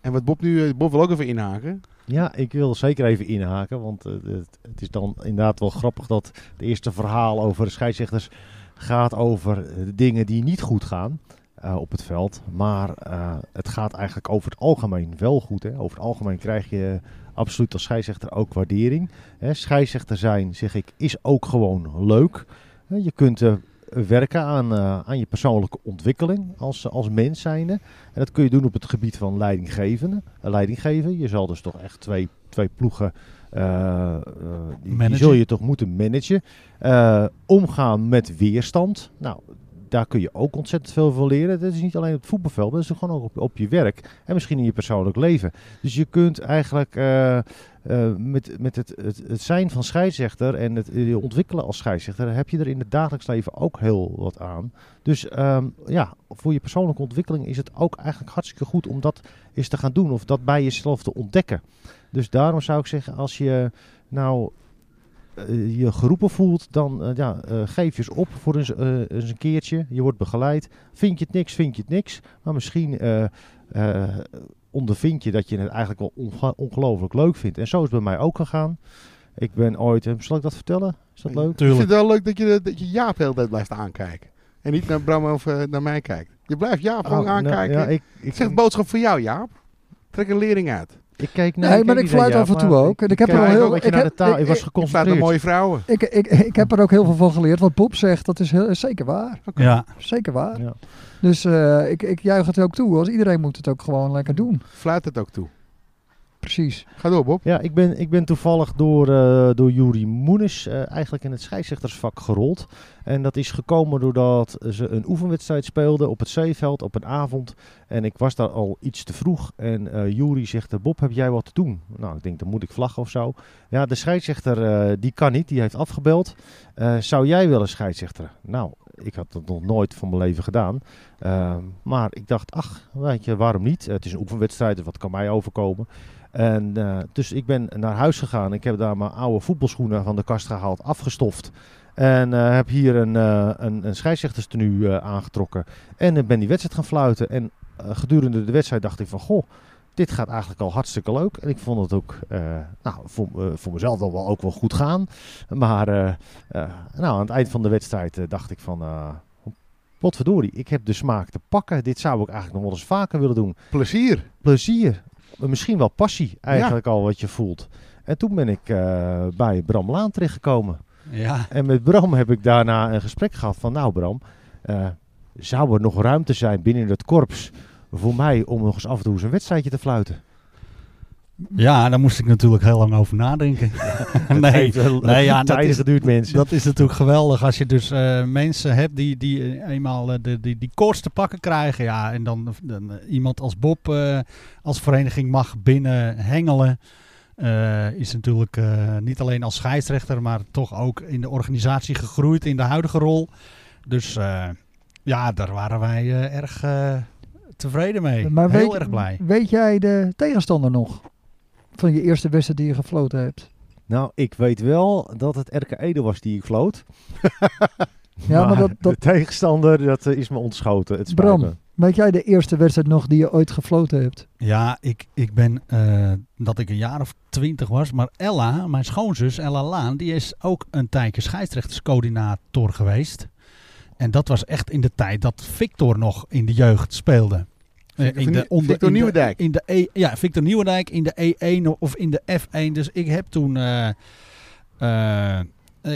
En wat Bob nu, eh, Bob wil ook even inhaken. Ja, ik wil zeker even inhaken, want eh, het, het is dan inderdaad wel grappig dat het eerste verhaal over de scheidsrechters gaat over eh, de dingen die niet goed gaan eh, op het veld. Maar eh, het gaat eigenlijk over het algemeen wel goed. Hè. Over het algemeen krijg je absoluut als scheidsrechter ook waardering. Hè. Scheidsrechter zijn, zeg ik, is ook gewoon leuk. Hè, je kunt eh, werken aan, eh, aan je persoonlijke ontwikkeling als, als mens zijnde. En dat kun je doen op het gebied van leidinggevende, eh, leidinggeven. Je zal dus toch echt twee, twee ploegen, eh, eh, die, die Managen. zul je toch moeten managen. Eh, omgaan met weerstand. Nou, daar kun je ook ontzettend veel van leren. Dat is niet alleen op het voetbalveld, maar dat is gewoon ook op, op je werk en misschien in je persoonlijk leven. Dus je kunt eigenlijk eh, eh, met, met het, het, het zijn van scheidsrechter en het eh, je ontwikkelen als scheidsrechter, heb je er in het dagelijks leven ook heel wat aan. Dus ehm, ja, voor je persoonlijke ontwikkeling is het ook eigenlijk hartstikke goed om dat eens te gaan doen of dat bij jezelf te ontdekken. Dus daarom zou ik zeggen, als je nou eh, je geroepen voelt, dan eh, ja, eh, geef je eens op voor eens, eh, eens een keertje. Je wordt begeleid. Vind je het niks, vind je het niks. Maar misschien eh, eh, ondervind je dat je het eigenlijk wel onge- ongelooflijk leuk vindt. En zo is het bij mij ook gegaan. Ik ben ooit, eh, zal ik dat vertellen? Is dat leuk? Ik vind Tuurlijk. het wel leuk dat je, eh, dat je Jaap de hele tijd blijft aankijken. En niet naar Bram of eh, naar mij kijkt. Je blijft Jaap gewoon Oh, nou, aankijken. ja, ik, ik, ik, zeg boodschap voor jou, Jaap. Trek een lering uit. ik kijk naar. Nee, kijk maar ik niet naar fluit jou, af en maar toe ook. En ik heb kijk er al wel heel- een beetje ik naar de heb- taal. ik- Ik was ik- Je staat geconcentreerd. naar mooie vrouwen. Ik, ik, ik heb er ook heel veel van geleerd. Wat Bob zegt, dat is heel, zeker waar. Ja, Zeker waar. Ja. Dus eh, ik, ik juich het ook toe. Als iedereen moet het ook gewoon lekker doen. Fluit het ook toe. Precies. Ga door, Bob. Ja, ik ben, ik ben toevallig door, eh door Juri Moenis eh, eigenlijk in het scheidsrechtersvak gerold. En dat is gekomen doordat ze een oefenwedstrijd speelden op het zeeveld op een avond. En ik was daar al iets te vroeg. En eh, Juri zegt, eh, Bob, heb jij wat te doen? Nou, ik denk, dan moet ik vlaggen of zo. Ja, de scheidsrechter, eh, die kan niet, die heeft afgebeld. Eh, zou jij willen scheidsrechter? Nou, ik had dat nog nooit van mijn leven gedaan. Ehm, maar ik dacht, ach, weet je, waarom niet? Het is een oefenwedstrijd, dus wat kan mij overkomen? En, eh, dus ik ben naar huis gegaan. Ik heb daar mijn oude voetbalschoenen van de kast gehaald, afgestoft. En eh, heb hier een, eh een, een scheidsrechterstenu eh, aangetrokken. En eh, ben die wedstrijd gaan fluiten. En eh, gedurende de wedstrijd dacht ik van, goh, dit gaat eigenlijk al hartstikke leuk. En ik vond het ook eh, nou, voor, eh, voor mezelf dan wel ook wel goed gaan. Maar eh, eh, nou, aan het eind van de wedstrijd eh, dacht ik van... eh Potverdorie, ik heb de smaak te pakken. Dit zou ik eigenlijk nog wel eens vaker willen doen Plezier. plezier, misschien wel passie eigenlijk al wat je voelt. En toen ben ik eh, bij Bram Laan terechtgekomen. ja. En met Bram heb ik daarna een gesprek gehad van... Nou Bram, eh, zou er nog ruimte zijn binnen het korps voor mij om nog eens af en toe eens een wedstrijdje te fluiten? ja, daar moest ik natuurlijk heel lang over nadenken. nee, wel nee, ja, dat tijden is- geduurd mensen. dat is natuurlijk geweldig als je dus eh, mensen hebt die, die eh, eenmaal eh, de, die, die koorts te pakken krijgen. Ja, en dan, dan, eh, iemand als Bob eh, als vereniging mag binnen hengelen. eh, is natuurlijk eh, niet alleen als scheidsrechter, maar toch ook in de organisatie gegroeid in de huidige rol. Dus eh, ja, daar waren wij eh, erg eh, tevreden mee. Maar Heel weet, erg blij. Weet jij de tegenstander nog? Van je eerste wedstrijd die je gefloten hebt. Nou, ik weet wel dat het RK Ede was die ik floot. Ja, maar dat, dat, de tegenstander, dat eh, is me ontschoten. Het spijt Bram. me. weet jij de eerste wedstrijd nog die je ooit gefloten hebt? Ja, ik, ik ben eh, dat ik een jaar of twintig was. Maar Ella, mijn schoonzus, Ella Laan, die is ook een tijdje scheidsrechterscoördinator geweest. En dat was echt in de tijd dat Victor nog in de jeugd speelde. Eh, Victor in de, Nieuw- Victor in de- Nieuwendijk. In de e, ja, Victor Nieuwendijk in de E1 of in de F1. Dus ik heb toen... eh, eh, eh,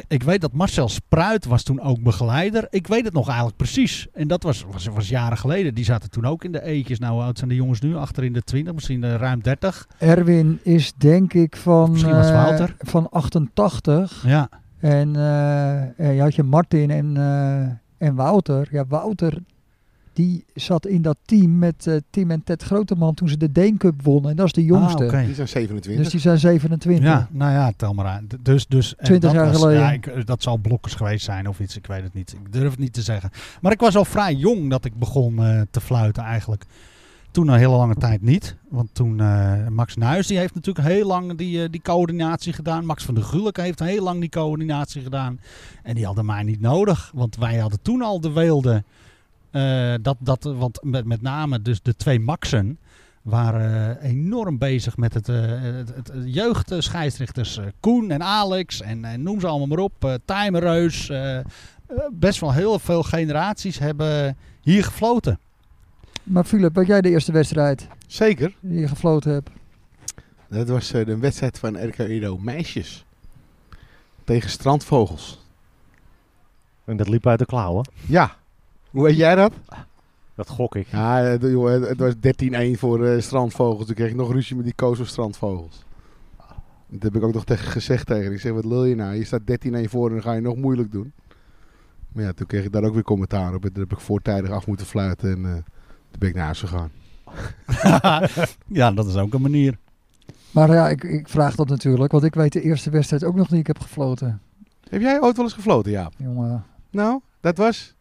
ik weet dat Marcel Spruit was toen ook begeleider. Ik weet het nog eigenlijk precies. En dat was, was, was jaren geleden. Die zaten toen ook in de eetjes. Nou, hoe oud zijn de jongens nu? Achter in de 20, misschien eh, ruim 30. Erwin is denk ik van, Misschien was het eh, Wouter. van 88. Ja, En eh, eh, je had je Martin en, eh, en Wouter. Ja, Wouter die zat in dat team met eh, Tim en Ted Groteman toen ze de Deen Cup wonnen. En dat is de jongste. Ah, oké. Die zijn 27. Dus die zijn 27. Ja, nou ja, tel maar aan. D- Dus, dus, en 20 dat jaar was- geleden. Ja, ik, eh, dat zal blokkers geweest zijn of iets. Ik weet het niet. Ik durf het niet te zeggen. Maar ik was al vrij jong dat ik begon eh, te fluiten eigenlijk. Toen een hele lange tijd niet. Want toen eh, Max Nuis, die heeft natuurlijk heel lang die, eh, die coördinatie gedaan. Max van der Gulik heeft heel lang die coördinatie gedaan. En die hadden mij niet nodig. Want wij hadden toen al de weelde. eh, dat, dat, want met, met name dus de twee Maxen waren eh, enorm bezig met het, eh het, het- het jeugd, eh, scheidsrichters eh, Koen en Alex en eh, noem ze allemaal maar op. eh Timereus. eh, eh, best wel heel veel generaties hebben hier gefloten. Maar Philip, weet jij de eerste wedstrijd Zeker. die je gefloten hebt? Dat was eh, de wedstrijd van RK Edo Meisjes. Tegen Strandvogels. En dat liep uit de klauwen. Ja. Hoe weet jij dat? Dat gok ik. Ja, het, joh, het- het was 13-1 voor eh, Strandvogels. Toen kreeg ik nog ruzie met die koos voor Strandvogels. Dat heb ik ook nog tegen gezegd tegen. haar. Ik zeg, wat lul je nou? Je staat 13-1 voor en dan ga je nog moeilijk doen. Maar ja, toen kreeg ik daar ook weer commentaar op. En toen heb ik voortijdig af moeten fluiten en eh, toen ben ik naar huis gegaan. ja, dat is ook een manier. Maar ja, ik, ik vraag dat natuurlijk, want ik weet de eerste wedstrijd ook nog niet. Ik heb gefloten, Heb jij ooit wel eens gefloten, Jaap? jongen. Nou, dat was...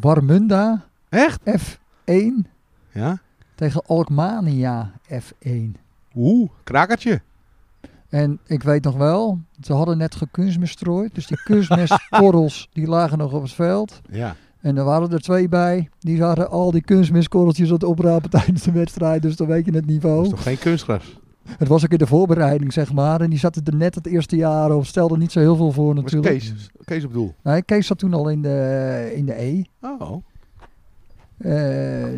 Warmunda Echt? F1 Ja? tegen Alkmania F1. Oeh, krakertje. En ik weet nog wel, ze hadden net gekunstmestrooid. Dus die kunstmestkorrels die lagen nog op het veld. Ja. En er waren er twee bij. Die zaten al die kunstmestkorreltjes aan het oprapen tijdens de wedstrijd. Dus dan weet je het Dat niveau. is toch geen kunstgras? Het was ook in de voorbereiding, zeg maar. En die zaten er net het eerste jaar op. Stelden niet zo heel veel voor Dat was natuurlijk. Kees. Kees op doel. Nee, Kees zat toen al in de, in de E. Oh. Eh,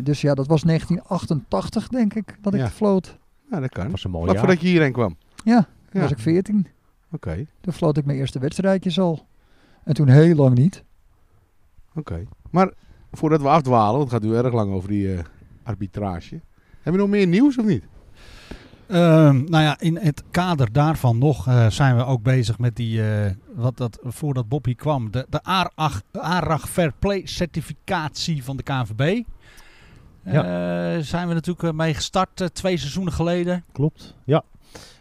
dus ja, dat was 1988 denk ik dat ik Ja. floot. Nou, dat kan. Dat was een mooi Vlak jaar. voordat je hierheen kwam. Ja, toen Ja. was ik 14. Oké, Toen floot ik mijn eerste wedstrijdjes al. En toen heel lang niet. oké. Maar voordat we afdwalen, want het gaat nu erg lang over die eh, arbitrage. Hebben we nog meer nieuws of niet? Ehm, nou ja, in het kader daarvan nog eh, zijn we ook bezig met die, eh, wat dat, voordat Bob hier kwam, de, de ARAG, ARAG Fair Play certificatie van de KNVB. Ja. Eh, zijn we natuurlijk eh, mee gestart eh, twee seizoenen geleden. Klopt, ja.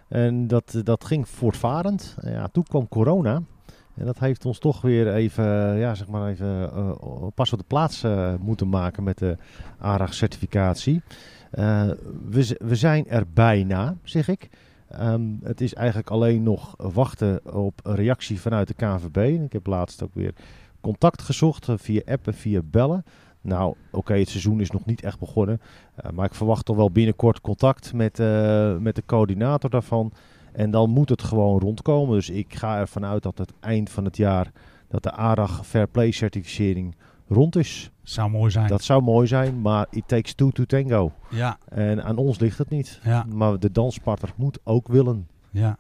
En dat, eh, dat ging voortvarend. En Ja, toen kwam corona. En dat heeft ons toch weer even, eh, ja, zeg maar even eh, pas op de plaats eh, moeten maken met de ARAG-certificatie. Eh, we, z- we zijn er bijna, zeg ik. Ehm, het is eigenlijk alleen nog wachten op een reactie vanuit de KNVB. En Ik heb laatst ook weer contact gezocht eh, via app en via bellen. Nou, oké, het seizoen is nog niet echt begonnen. Uh, maar ik verwacht toch wel binnenkort contact met, eh, met de coördinator daarvan. En dan moet het gewoon rondkomen. Dus ik ga ervan uit dat het eind van het jaar dat de ARAG Fair Play certificering rond is. Zou mooi zijn. Dat zou mooi zijn, maar it takes two to tango. Ja, En aan ons ligt het niet. ja, Maar de danspartner moet ook willen. ja.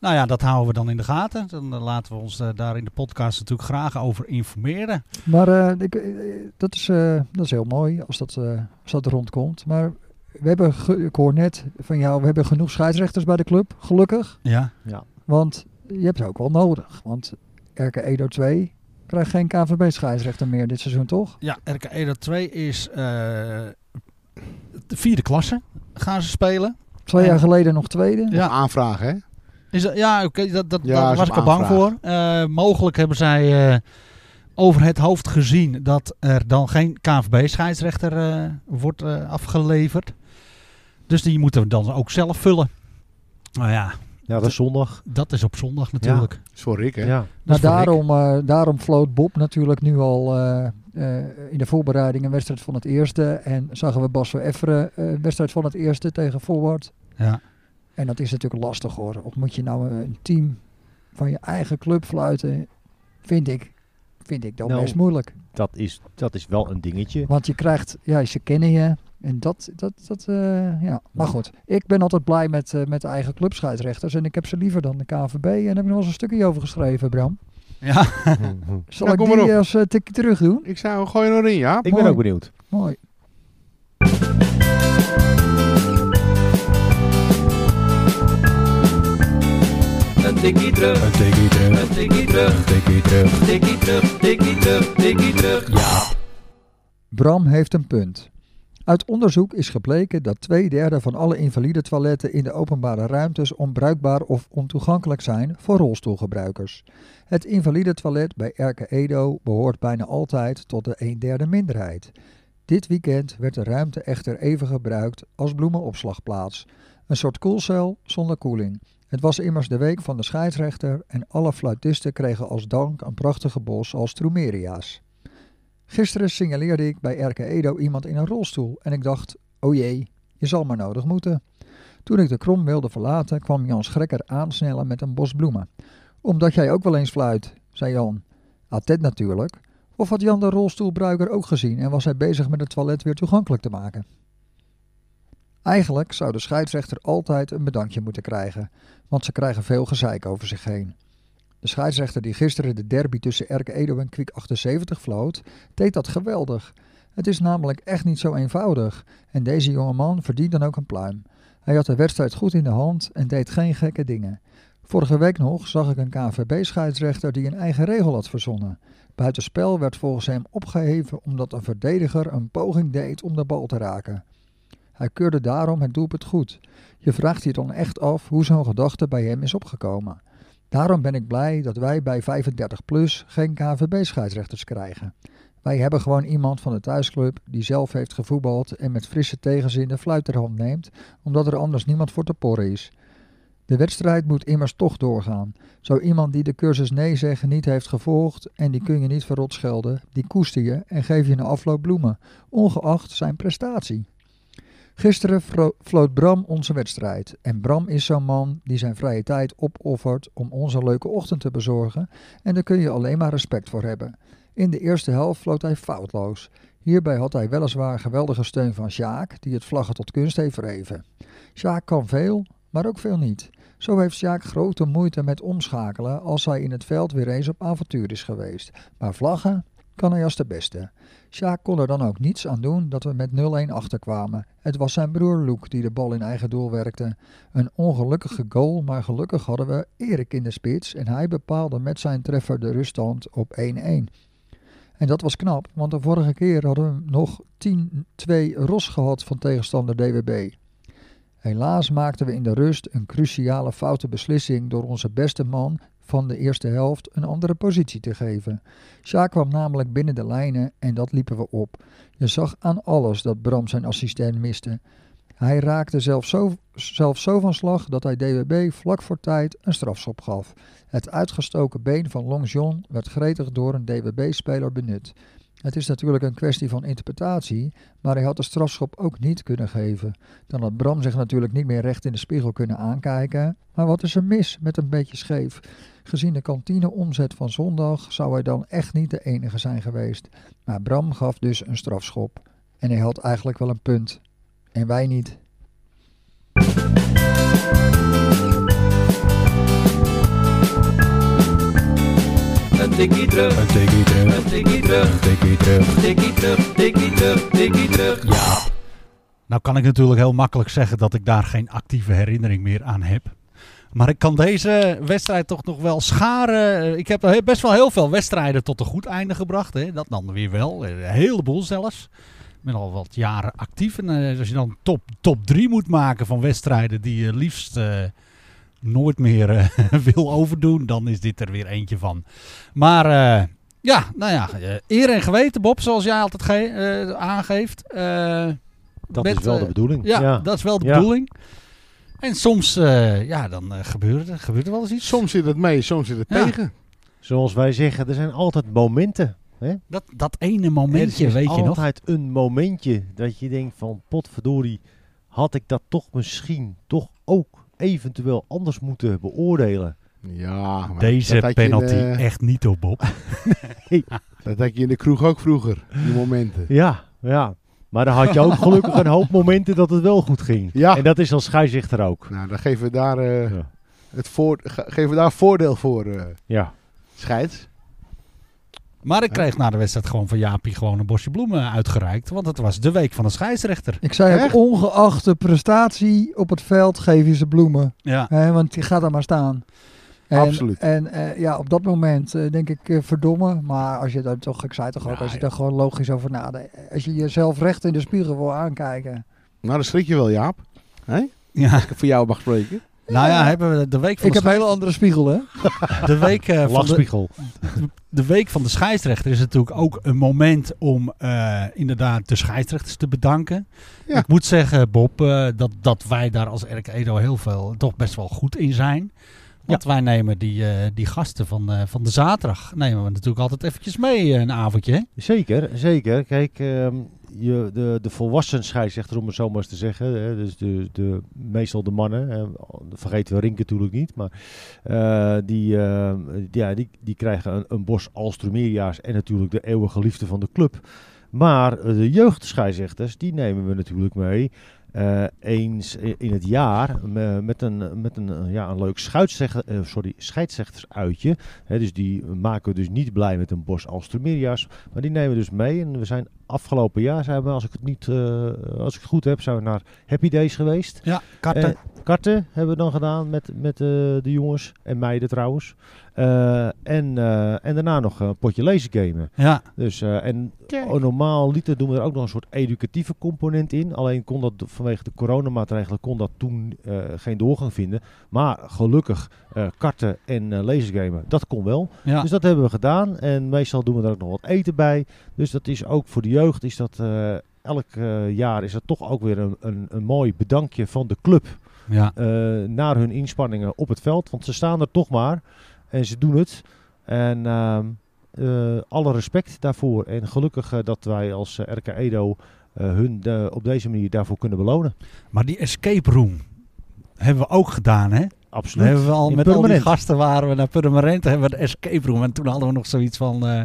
Nou ja, dat houden we dan in de gaten. Dan eh, laten we ons eh, daar in de podcast natuurlijk graag over informeren. Maar eh, ik, eh, dat, is, eh, dat is heel mooi als dat, eh, als dat rondkomt. Maar we hebben, ge- ik hoor net van jou, we hebben genoeg scheidsrechters bij de club. Gelukkig. Ja, Want je hebt ze ook wel nodig. Want RK Edo 2 krijgt geen KVB-scheidsrechter meer dit seizoen, toch? ja RK Edo 2 is eh, de vierde klasse gaan ze spelen. Twee Ja. jaar geleden nog tweede. Ja. Aanvragen, hè? Is dat, ja, oké, dat, dat, Ja, daar is was op ik al bang aanvraag. voor. Eh, mogelijk hebben zij eh, over het hoofd gezien dat er dan geen KNVB-scheidsrechter eh, wordt eh, afgeleverd. Dus die moeten we dan ook zelf vullen. Nou ja, Ja, dat is zondag. dat is op zondag natuurlijk. Dat is voor Rick, hè? Ja. Dat Nou, is voor daarom, eh, daarom floot Bob natuurlijk nu al eh, eh, in de voorbereiding een wedstrijd van het eerste. En zagen we Bas van Efferen eh, een wedstrijd van het eerste tegen Forward. Ja. En dat is natuurlijk lastig hoor. Of moet je nou een team van je eigen club fluiten? Vind ik, vind ik dan Nou. best moeilijk. Dat is, dat is wel een dingetje. Want je krijgt, ja, ze kennen je. En dat, dat, dat eh, ja. Maar goed, ik ben altijd blij met, eh, met de eigen clubscheidsrechters. En ik heb ze liever dan de KVB. En daar heb ik nog eens een stukje over geschreven, Bram. Ja, Zal Ja, ik kom maar op. die als eh, tikje terug doen? Ik zou gooi er nog in, Jaap. ik ben mooi. ook benieuwd. Mooi. Een tikkie terug. Een tikkie terug. Een tikkie terug. Bram heeft een punt. Uit onderzoek is gebleken dat twee derde van alle invalide toiletten in de openbare ruimtes onbruikbaar of ontoegankelijk zijn voor rolstoelgebruikers. Het invalide toilet bij Erke Edo behoort bijna altijd tot de een derde minderheid. Dit weekend werd de ruimte echter even gebruikt als bloemenopslagplaats. Een soort koelcel zonder koeling. Het was immers de week van de scheidsrechter en alle fluitisten kregen als dank een prachtige bos als Trumeria's. Gisteren signaleerde ik bij RK Edo iemand in een rolstoel en ik dacht, oh jee, je zal maar nodig moeten. Toen ik de krom wilde verlaten, kwam Jan Schrekker aansnellen met een bos bloemen. Omdat jij ook wel eens fluit, zei Jan. Attent natuurlijk. Of had Jan de rolstoelbruiker ook gezien en was hij bezig met het toilet weer toegankelijk te maken? Eigenlijk zou de scheidsrechter altijd een bedankje moeten krijgen, want ze krijgen veel gezeik over zich heen. De scheidsrechter die gisteren de derby tussen RK Edo en Kwiek 78 floot, deed dat geweldig. Het is namelijk echt niet zo eenvoudig. En deze jongeman verdient dan ook een pluim. Hij had de wedstrijd goed in de hand en deed geen gekke dingen. Vorige week nog zag ik een KNVB-scheidsrechter die een eigen regel had verzonnen. Buitenspel werd volgens hem opgeheven omdat een verdediger een poging deed om de bal te raken. Hij keurde daarom het doelpunt goed. Je vraagt je dan echt af hoe zo'n gedachte bij hem is opgekomen. Daarom ben ik blij dat wij bij 35 plus geen KNVB-scheidsrechters krijgen. Wij hebben gewoon iemand van de thuisclub die zelf heeft gevoetbald en met frisse tegenzin de fluit ter hand neemt, omdat er anders niemand voor te porren is. De wedstrijd moet immers toch doorgaan. Zo iemand die de cursus nee zeggen niet heeft gevolgd en die kun je niet verrot schelden, die koester je en geef je na afloop bloemen, ongeacht zijn prestatie. Gisteren vro- floot Bram onze wedstrijd. En Bram is zo'n man die zijn vrije tijd opoffert om ons een leuke ochtend te bezorgen. En daar kun je alleen maar respect voor hebben. In de eerste helft floot hij foutloos. Hierbij had hij weliswaar geweldige steun van Sjaak, die het vlaggen tot kunst heeft verheven. Sjaak kan veel, maar ook veel niet. Zo heeft Sjaak grote moeite met omschakelen als hij in het veld weer eens op avontuur is geweest. Maar vlaggen kan hij als de beste. Sjaak kon er dan ook niets aan doen dat we met 0-1 achterkwamen. Het was zijn broer Luke die de bal in eigen doel werkte. Een ongelukkige goal, maar gelukkig hadden we Erik in de spits en hij bepaalde met zijn treffer de ruststand op 1-1. En dat was knap, want de vorige keer hadden we nog 10-2 ros gehad van tegenstander DWB. Helaas maakten we in de rust een cruciale foute beslissing door onze beste man van de eerste helft een andere positie te geven. Sjaak kwam namelijk binnen de lijnen en dat liepen we op. Je zag aan alles dat Bram zijn assistent miste. Hij raakte zelf zo, zelf zo van slag dat hij DWB vlak voor tijd een strafschop gaf. Het uitgestoken been van Long John werd gretig door een DWB-speler benut. Het is natuurlijk een kwestie van interpretatie, maar hij had de strafschop ook niet kunnen geven. Dan had Bram zich natuurlijk niet meer recht in de spiegel kunnen aankijken. Maar wat is er mis met een beetje scheef? Gezien de kantineomzet van zondag zou hij dan echt niet de enige zijn geweest. Maar Bram gaf dus een strafschop. En hij had eigenlijk wel een punt. En wij niet. Een tikkie terug, Een tikkie terug, een tikkie terug, een tikkie terug. tikkie terug, tikkie terug, tikkie terug. Ja. Nou kan ik natuurlijk heel makkelijk zeggen dat ik daar geen actieve herinnering meer aan heb. Maar ik kan deze wedstrijd toch nog wel scharen. Eh, Ik heb he- best wel heel veel wedstrijden tot een goed einde gebracht. Hè. Dat dan weer wel. Eh, Een heleboel zelfs. Ik ben al wat jaren actief. En eh, als je dan top, top drie moet maken van wedstrijden die je liefst eh, nooit meer eh, wil overdoen. Dan is dit er weer eentje van. Maar eh, ja, nou ja. eh, eer en geweten Bob, zoals jij altijd ge- eh, aangeeft. Eh, Dat met, is wel eh, de bedoeling. ja, dat is wel de Ja. bedoeling. En soms, eh, ja, dan eh, gebeurt, er, gebeurt er wel eens iets. Soms zit het mee, soms zit het Ja. tegen. Zoals wij zeggen, er zijn altijd momenten. Dat, dat ene Er momentje, is weet je nog. altijd een momentje dat je denkt van potverdorie, had ik dat toch misschien toch ook eventueel anders moeten beoordelen. Ja, maar dat Deze had je in eh, penalty de- echt niet op, Bob. dat had je in de kroeg ook vroeger, die momenten. Ja, ja. Maar dan had je ook gelukkig een hoop momenten dat het wel goed ging. Ja. En dat is als scheidsrechter ook. Nou, dan geven we daar, eh, Ja. het voor, ge- geven we daar voordeel voor, eh Ja. scheids. Maar ik kreeg na de wedstrijd gewoon van Jaapie gewoon een bosje bloemen uitgereikt. Want het was de week van de scheidsrechter. Ik zei ook, Echt? ongeacht de prestatie op het veld geef je ze bloemen. Ja. Hè, want die gaat er maar staan. En, Absoluut. En eh, ja, op dat moment eh, denk ik eh, verdomme. Maar als je daar toch, ik zei toch ook, Ja, als je ja. daar gewoon logisch over nadenkt. eh, Als je jezelf recht in de spiegel wil aankijken. Nou, dan schrik je wel, Jaap. ja. Als ik voor jou mag spreken. Nou ja, hebben we de week van Ik de, heb een hele andere spiegel, hè? schei- de week, eh, van de, Lachspiegel. de week van de scheidsrechter is natuurlijk ook een moment om eh, inderdaad de scheidsrechters te bedanken. Ja. Ik moet zeggen, Bob, eh, dat, dat wij daar als Erk Edo heel veel toch best wel goed in zijn. Want wij nemen die, eh, die gasten van, eh, van de zaterdag nemen we natuurlijk altijd eventjes mee eh, een avondje. hè? Zeker, zeker. Kijk, ehm, je, de, de volwassen scheidsrechter, om het zo maar eens te zeggen. Hè, dus de, de, meestal de mannen. Hè, vergeten we Rink natuurlijk niet. Maar eh, die, ehm, ja, die, die krijgen een, een bos Alstrumeria's. En natuurlijk de eeuwige liefde van de club. Maar eh, de jeugdscheidsrechters, die nemen we natuurlijk mee. eh, eens i- in het jaar me- met een, met een, eh, ja, een leuk scheidsrechter, eh, sorry, scheidsrechtersuitje. Hè, dus die maken we dus niet blij met een bos Alstrumeria's. Maar die nemen we dus mee. En we zijn afgelopen jaar, zijn we, als ik het, niet, eh, als ik het goed heb, zijn we naar Happy Days geweest. Ja, karten. Eh, karten hebben we dan gedaan met, met eh, de jongens en meiden trouwens. Eh, en, eh, en daarna nog een potje laser gamen. Ja, Dus, eh, en oh, normaal liter doen we er ook nog een soort educatieve component in. Alleen kon dat vanwege de coronamaatregelen kon dat toen eh, geen doorgang vinden. Maar gelukkig eh, karten en eh lasergamen, dat kon wel. ja. Dus dat hebben we gedaan. En meestal doen we er ook nog wat eten bij. Dus dat is ook voor de jeugd. Is dat, eh, elk eh, jaar is dat toch ook weer een, een, een mooi bedankje van de club. ja. eh, naar hun inspanningen op het veld. Want ze staan er toch maar. En ze doen het. En ehm, eh, alle respect daarvoor. En gelukkig eh, dat wij als eh, RK Edo eh, hun eh, op deze manier daarvoor kunnen belonen. Maar die escape room hebben we ook gedaan, hè? Daar Absoluut. hebben we al In met al die Purmerend. gasten waren we naar Purmerend, hebben we de escape room. En toen hadden we nog zoiets van, eh,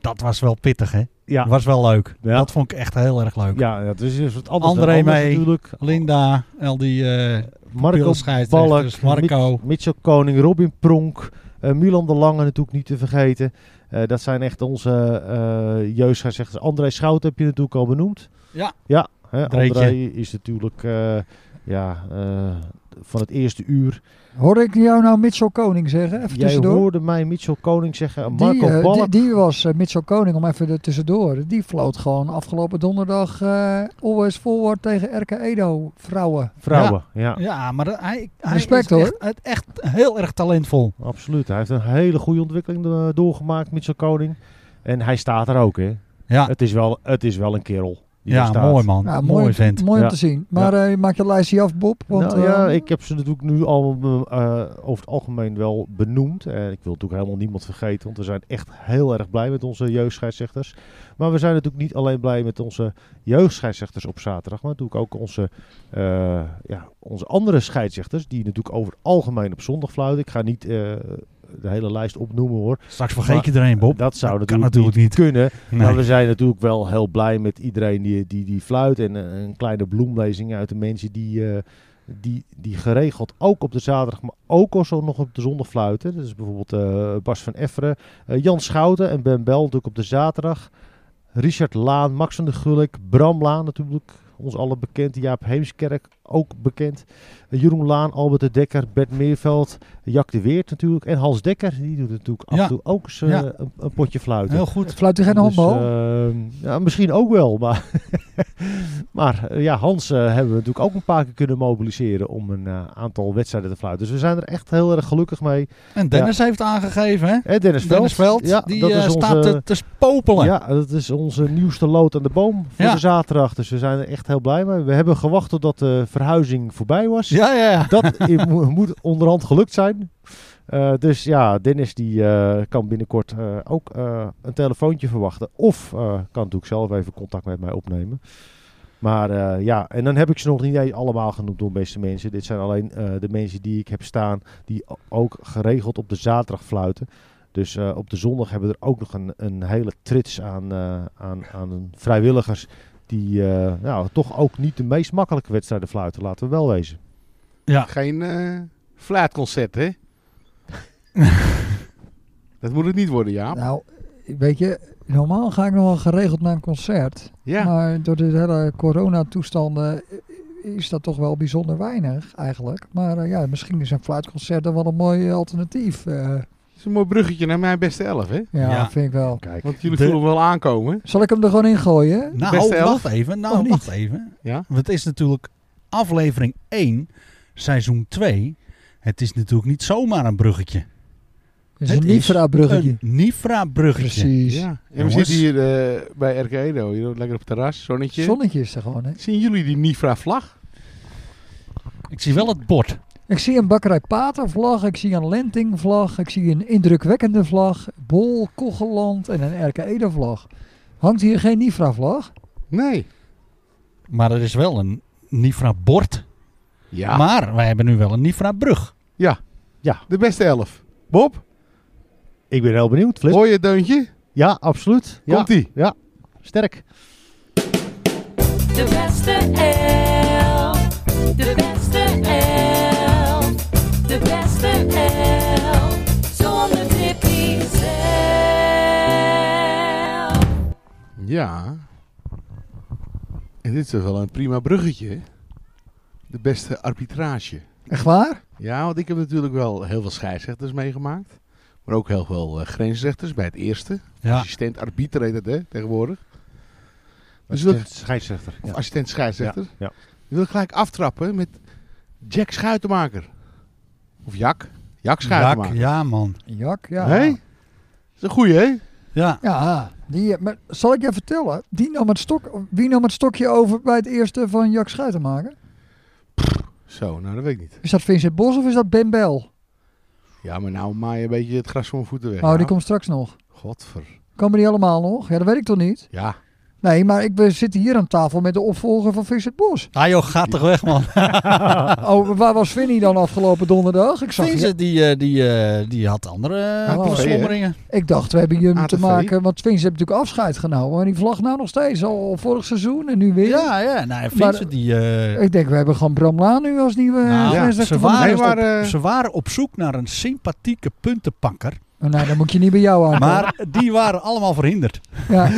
dat was wel pittig, hè? Ja. was wel leuk. Ja. Dat vond ik echt heel erg leuk. Ja, dat is iets wat anders dan André anders mee, natuurlijk. Linda, al die eh Marco pilscheidsrechters, Balk, Marco. Mitch- Mitchell Koning, Robin Pronk, eh, Milan de Lange natuurlijk niet te vergeten. Eh, dat zijn echt onze eh jeugdscheidsrechters. André Schout heb je natuurlijk al benoemd. Ja. Ja, hè, Dreetje. André is natuurlijk eh, ja, eh, van het eerste uur. Hoor ik jou nou Mitchell Koning zeggen? Even Jij tussendoor. hoorde mij Mitchell Koning zeggen, Die, Marco eh, Balk. die, die was eh, Mitchell Koning, om even er tussendoor. Die floot gewoon afgelopen donderdag eh, Always Forward tegen RK Edo vrouwen. Vrouwen, ja. Ja, maar dat- hij, hij is Respect, hoor. Echt, het- echt heel erg talentvol. Absoluut, hij heeft een hele goede ontwikkeling eh, doorgemaakt, Mitchell Koning. En hij staat er ook, hè. Ja, Het, is wel, het is wel een kerel die er ja staat. mooi man. Nou, mooi mooi, vent. mooi om Ja. te zien. Maar eh, maak je lijstje af, Bob. Want, nou, ja, eh, ik heb ze natuurlijk nu al eh, over het algemeen wel benoemd. En ik wil natuurlijk helemaal niemand vergeten, want we zijn echt heel erg blij met onze jeugdscheidsrechters. Maar we zijn natuurlijk niet alleen blij met onze jeugdscheidsrechters op zaterdag, maar natuurlijk ook onze, eh, ja, onze andere scheidsrechters, die natuurlijk over het algemeen op zondag fluiten. Ik ga niet eh, de hele lijst opnoemen hoor. Straks vergeet Maar je er een, Bob. dat zou dat kan natuurlijk, natuurlijk niet kunnen. Nee. Maar we zijn natuurlijk wel heel blij met iedereen die, die, die fluit. En eh, een kleine bloemlezing uit de mensen die, eh, die, die geregeld ook op de zaterdag, maar ook also nog op de zondag fluiten. Dat is bijvoorbeeld eh, Bas van Efferen, eh, Jan Schouten en Ben Bel natuurlijk op de zaterdag. Richard Laan, Max van de Gulik, Bram Laan natuurlijk, ons alle bekend. Jaap Heemskerk, ook bekend. Eh, Jeroen Laan, Albert de Dekker, Bert Meerveld, Jack de Weert natuurlijk. En Hans Dekker, die doet natuurlijk af Ja. en toe ook eens eh, Ja. een, een potje fluiten. Heel goed. Fluit hij geen Dus, handbal? ehm, ja, misschien ook wel, maar, maar eh, ja, Hans eh, hebben we natuurlijk ook een paar keer kunnen mobiliseren om een eh, aantal wedstrijden te fluiten. Dus we zijn er echt heel erg gelukkig mee. En Dennis heeft aangegeven, hè? En Dennis Veld, Dennis Veld, ja, die dat eh, is onze, staat te, te popelen. Ja, dat is onze nieuwste lood aan de boom voor Ja. de zaterdag. Dus we zijn er echt heel blij mee. We hebben gewacht totdat de verhuizing voorbij was. ja, ja. ja. Dat i- mo- moet onderhand gelukt zijn. Eh, dus ja, Dennis die eh, kan binnenkort eh, ook eh, een telefoontje verwachten. Of eh, kan natuurlijk zelf even contact met mij opnemen. Maar eh, ja, en dan heb ik ze nog niet eens allemaal genoemd door beste mensen. Dit zijn alleen eh, de mensen die ik heb staan die o- ook geregeld op de zaterdag fluiten. Dus eh, op de zondag hebben we er ook nog een, een hele trits aan, eh, aan, aan vrijwilligers. Die eh, nou, toch ook niet de meest makkelijke wedstrijden fluiten, laten we wel wezen. Geen eh flaatconcert, hè? dat moet het niet worden, Jaap. Nou, weet je, normaal ga ik nog wel geregeld naar een concert. Ja, Maar door de hele coronatoestanden is dat toch wel bijzonder weinig eigenlijk. Maar eh, ja, misschien is een fluitconcert dan wel een mooi eh, alternatief. eh. dat is een mooi bruggetje naar mijn beste elf, hè? ja, Ja. vind ik wel. Kijk. Want jullie De- voelen hem wel aankomen. Zal ik hem er gewoon in gooien? Nou, beste wacht even. Of Nou, niet? wacht even. Ja? Want het is natuurlijk aflevering 1, seizoen 2. Het is natuurlijk niet zomaar een bruggetje. Het is Het een is Nifra-bruggetje. Een Nifra-bruggetje. Precies. Ja. En we Jongens. zitten hier eh, bij RK Edo. Hier, lekker op het terras, zonnetje. Zonnetje is er gewoon, hè? Zien jullie die Nifra-vlag? Ik zie wel het bord. Ik zie een bakkerij Patervlag, ik zie een Lenting-vlag, ik zie een indrukwekkende vlag, Bol, Kocheland en een RK Ede-vlag. Hangt hier geen Nifra-vlag? Nee. Maar er is wel een Nifra-bord. Ja. Maar wij hebben nu wel een Nifra-brug. De beste elf. Bob, Ik ben heel benieuwd. Flip. hoor je het deuntje? Ja, absoluut. Ja, Komt-ie. sterk. De beste elf. De beste elf. De beste elf. Zonder Tippy zelf. Ja. En dit is toch wel een prima bruggetje. hè? De beste arbitrage. Echt waar? Ja, want ik heb natuurlijk wel heel veel scheidsrechters meegemaakt. Maar ook heel veel eh, grensrechters bij het eerste. Ja, Assistent arbiter heet het hè, tegenwoordig. Dus Dat dat- is een scheidsrechter. Of Ja. assistent scheidsrechter. Ja, ja. Die wil ik gelijk aftrappen met Jack Schuitenmaker. Of Jak. Jak Jack, Schuitenmaker. ja man. Jak, ja. Hé? is een goeie, hè? Ja, Ja, die, maar zal ik je vertellen? Die nam het stok, wie nam het stokje over bij het eerste van Jack Schuitenmaker? Zo, nou dat weet ik niet. Is dat Vincent Bos of is dat Ben Bel? Ja, maar nou maai je een beetje het gras van mijn voeten weg. Oh, die nou. komt straks nog. Godver. Komen die allemaal nog? Ja, dat weet ik toch niet? Ja. Nee, maar ik, we zitten hier aan tafel met de opvolger van Vincent Bos. ah joh, gaat toch weg man. Oh, waar was Vinny dan afgelopen donderdag? Ik, zag je, Vincent die, eh, die, eh, die had andere Oh. eh beslommeringen. ik dacht, we hebben hier te ATV. maken, want Vincent heeft natuurlijk afscheid genomen. Maar die vlag nou nog steeds, al vorig seizoen en nu weer. Ja, ja. Nou, Maar- Vincent die... eh, Ik denk, we hebben gewoon Bram Laan nu als nieuwe Nou, eh, grensrechter ze van de waren- Nee, Nederlandse- maar... eh, Ze waren op zoek naar een sympathieke puntenpakker, Oh, nee, dan moet je niet bij jou aan. maar die waren allemaal verhinderd. Ja,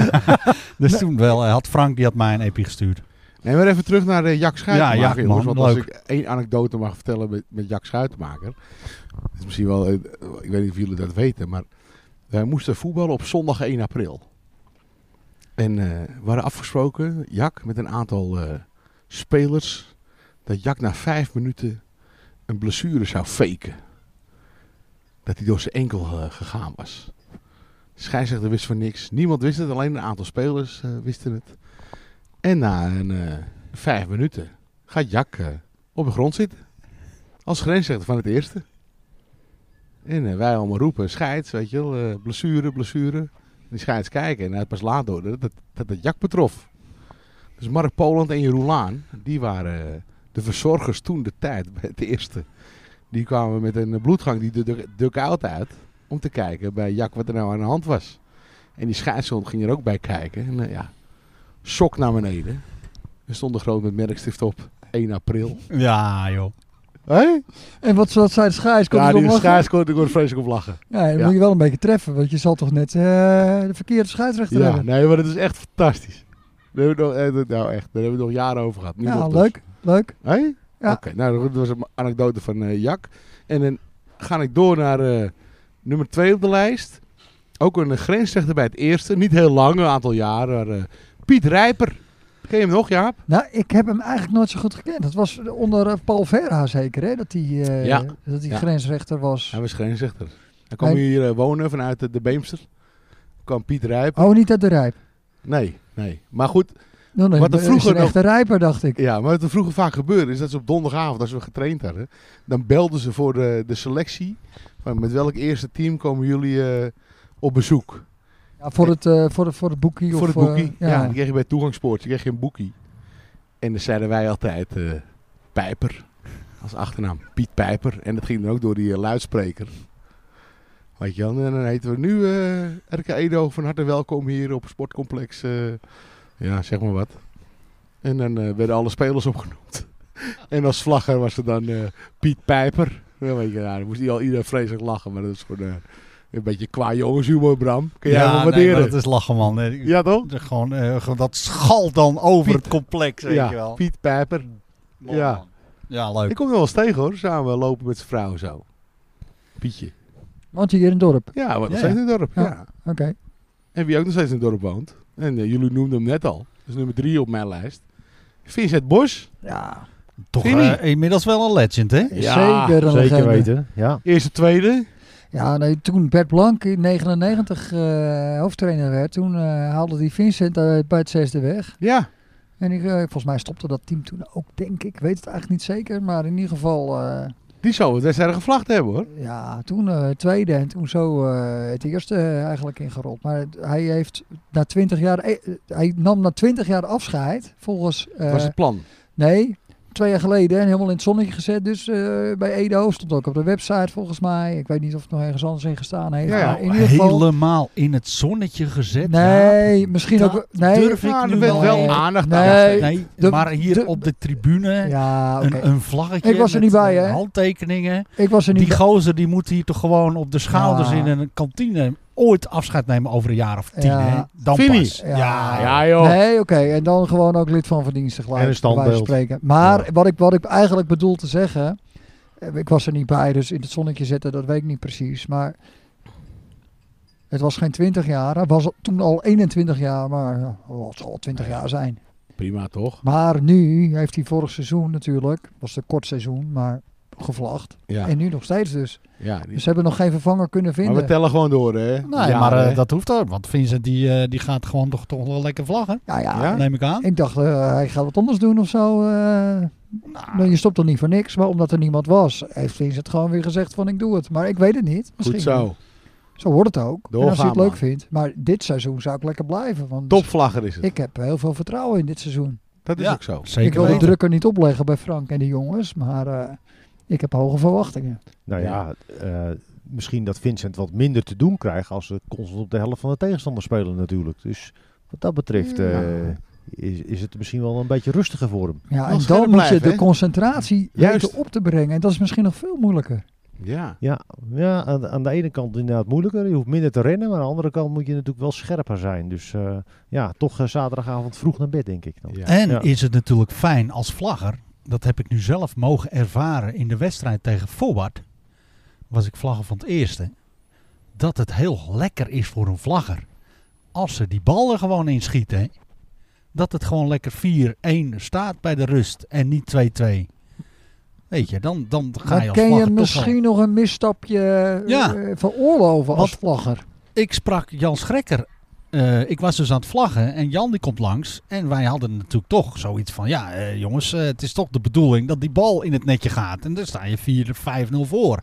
Dus toen wel, eh, had Frank die had mij een epi gestuurd. Nee, maar even terug naar eh Jack Schuitenmaker. Ja, Jack, jongens, man, want als leuk. ik één anekdote mag vertellen met, met Jack Schuitenmaker. Het is misschien wel, eh, ik weet niet of jullie dat weten, maar wij moesten voetballen op zondag 1 april. En eh, we waren afgesproken, Jack, met een aantal eh, spelers, dat Jack na vijf minuten een blessure zou faken. Dat hij door zijn enkel eh, gegaan was. Scheidsrechter wist van niks. Niemand wist het, alleen een aantal spelers eh, wisten het. En na een, eh, vijf minuten gaat Jack eh, op de grond zitten. Als grensrechter van het eerste. En eh, wij allemaal roepen, scheids, weet je wel, eh, blessure, blessure. En die scheids kijken en hij had pas laat door dat dat, dat het Jack betrof. Dus Mark Poland en Jeroen Laan, die waren eh, de verzorgers toen de tijd bij het eerste. Die kwamen met een eh, bloedgang die de duk- duck-out uit om te kijken bij Jack wat er nou aan de hand was. En die scheidsrechter ging er ook bij kijken. En eh, ja, sok naar beneden. We stonden groot met merkstift op. 1 april. Ja joh. Hé? en wat, wat zei de scheids? Komt Ja, er nog die lachen? schaars kon ik word vreselijk op lachen. Ja, dan Ja. moet je wel een beetje treffen, want je zal toch net eh, de verkeerde scheidsrechter Ja, hebben. nee, maar het is echt fantastisch. Daar hebben we nog, eh, dat- nou echt, daar hebben we nog jaren over gehad. Nu Ja, nog dus. leuk, leuk. Hé? Ja. Oké, nou dat was een anekdote van eh, Jack. En dan ga ik door naar eh, nummer 2 op de lijst. Ook een eh, grensrechter bij het eerste. Niet heel lang, een aantal jaren. maar, eh, Piet Rijper. Ken je hem nog, Jaap? Nou, ik heb hem eigenlijk nooit zo goed gekend. Dat was onder eh, Paul Verha zeker, hè? Dat hij eh, Ja. dat die Ja. grensrechter was. Hij was grensrechter. Hij kwam Hij- hier eh, wonen vanuit de, de Beemster. kwam Piet Rijper. Oh, niet uit de Rijp. Nee, nee. Maar goed, Nou, nee, Wat er is vroeger een nog- echte Rijper, dacht ik. ja, maar wat er vroeger vaak gebeurde is dat ze op donderdagavond, als we getraind hadden, dan belden ze voor de, de selectie. Van met welk eerste team komen jullie eh, op bezoek? Ja, voor, het, eh, voor, het, voor het boekie. voor of, het boekie. ja. eh, ja. die kreeg je bij toegangspoort, die kreeg je een boekie. En dan zeiden wij altijd eh, Pijper als achternaam. Piet Pijper. En dat ging dan ook door die eh, luidspreker. Weet je wel, en dan heten we nu eh RK Edo van harte welkom hier op sportcomplex. eh, ja, zeg maar wat. En dan eh, werden alle spelers opgenoemd. en als vlagger was er dan eh, Piet Pijper. Dan, weet je, nou, dan moest hij al iedereen vreselijk lachen. Maar dat is gewoon eh, een beetje qua jongenshumor, Bram. Kun jij ja, wel nee, maar waarderen? dat is lachen man. Eh, Ja, toch? de- Gewoon, eh, gewoon dat schalt dan over Piet. het complex, weet ja, je wel. Piet Pijper. Mooi, ja. man. Ja, leuk. Ik kom nog wel eens tegen hoor, samen lopen met zijn vrouw zo. Pietje. Want hier in het dorp. Ja, wat nog Ja, steeds in het dorp. Ja. Ja. Oké. En wie ook nog steeds in het dorp woont. En eh, jullie noemden hem net al. Dus nummer drie op mijn lijst. Vincent Bos. Ja. Toch Vinnie. eh, inmiddels wel een legend, hè? Ja, zeker. een Zeker legende. weten. Ja. Eerste, tweede. Ja, nee, toen Bert Blank in 99 eh, hoofdtrainer werd, toen eh, haalde die Vincent eh, bij het zesde weg. Ja. En ik, eh, volgens mij stopte dat team toen ook, denk ik. Ik weet het eigenlijk niet zeker. Maar in ieder geval, eh, Die zou het wedstrijd gevlacht hebben hoor. ja, toen eh, tweede en toen zo eh, het eerste eh, eigenlijk ingerold. Maar het- hij heeft na twintig jaar, eh, eh, hij nam na twintig jaar afscheid. Volgens, eh, Dat was het plan. nee, twee jaar geleden en helemaal in het zonnetje gezet. Dus eh, bij Edo stond ook op de website volgens mij. Ik weet niet of het nog ergens anders in gestaan heeft. Ja, maar in ieder geval, Helemaal in het zonnetje gezet. nee, Jaap. misschien Dat ook, nee. durf ik Ja, nu er werd wel- wel aandacht aan. Nee. Nee, de- maar hier de- op de tribune Ja, oké. een, een vlaggetje Ik was er met, niet bij, eh, hè? handtekeningen. ik was er niet Die gozer die moet hier toch gewoon op de schouders Ja. in een kantine ooit afscheid nemen over een jaar of tien. Ja. Hè? Dan Vinnie. pas. Ja, Ja. ja. Ja joh. Nee, oké. En dan gewoon ook lid van verdiensten gelijk. En een bij wijze van standbeeld. spreken. Maar wat, ik, wat ik eigenlijk bedoel te zeggen... Eh, Ik was er niet bij, dus in het zonnetje zetten, dat weet ik niet precies. Maar het was geen 20 jaar. Het was toen al 21 jaar, maar ja, oh, het zal wel 20 jaar zijn. Prima toch? Maar nu heeft hij vorig seizoen natuurlijk, was een kort seizoen, maar gevlacht. Ja. En nu nog steeds dus. ja die- Dus ze hebben nog geen vervanger kunnen maar we vinden. tellen gewoon door, hè? Nee, Ja, maar eh, hè? dat hoeft ook. Want Vincent die, eh, die gaat gewoon toch, toch wel lekker vlaggen. Ja, ja. Ja? Neem ik aan. Ik dacht, eh, hij gaat wat anders doen of zo. eh. Nou, je stopt toch niet voor niks. Maar omdat er niemand was, heeft Vincent gewoon weer gezegd van ik doe het. Maar ik weet het niet. Misschien. Goed zo. Zo wordt het ook. en als je Doorgaan, het leuk man. vindt. Maar dit seizoen zou ik lekker blijven. Want Topvlagger is het. Ik heb heel veel vertrouwen in dit seizoen. dat is Ja. ook zo. ik wil Zeker de weten. druk er niet opleggen bij Frank en de jongens. Maar eh, ik heb hoge verwachtingen. Nou ja, eh, misschien dat Vincent wat minder te doen krijgt als ze constant op de helft van de tegenstander spelen natuurlijk. Dus wat dat betreft eh, Ja. is, is het misschien wel een beetje rustiger voor hem. Ja, Wel en scherp dan moet je blijven, de hè? concentratie Juist. weten op te brengen. En dat is misschien nog veel moeilijker. Ja. Ja, ja aan, de- aan de ene kant inderdaad moeilijker. Je hoeft minder te rennen, maar aan de andere kant moet je natuurlijk wel scherper zijn. Dus eh, ja, toch eh, zaterdagavond vroeg naar bed, denk ik dan. ja. En Ja. is het natuurlijk fijn als vlagger. Dat heb ik nu zelf mogen ervaren in de wedstrijd tegen Forward. Was ik vlagger van het eerste. Dat het heel lekker is voor een vlagger. Als ze die bal er gewoon in schieten. hè. Dat het gewoon lekker 4-1 staat bij de rust. En niet 2-2. Weet je, dan, dan ga je Dan als ken vlagger toch je wel- misschien nog een misstapje eh, Ja. eh, veroorloven als Wat- vlagger. ik sprak Jan Schrekker. Eh, ik was dus aan het vlaggen en Jan die komt langs. En wij hadden natuurlijk toch zoiets van... Ja, eh, jongens, eh, het is toch de bedoeling dat die bal in het netje gaat. En daar sta je 4-5-0 voor.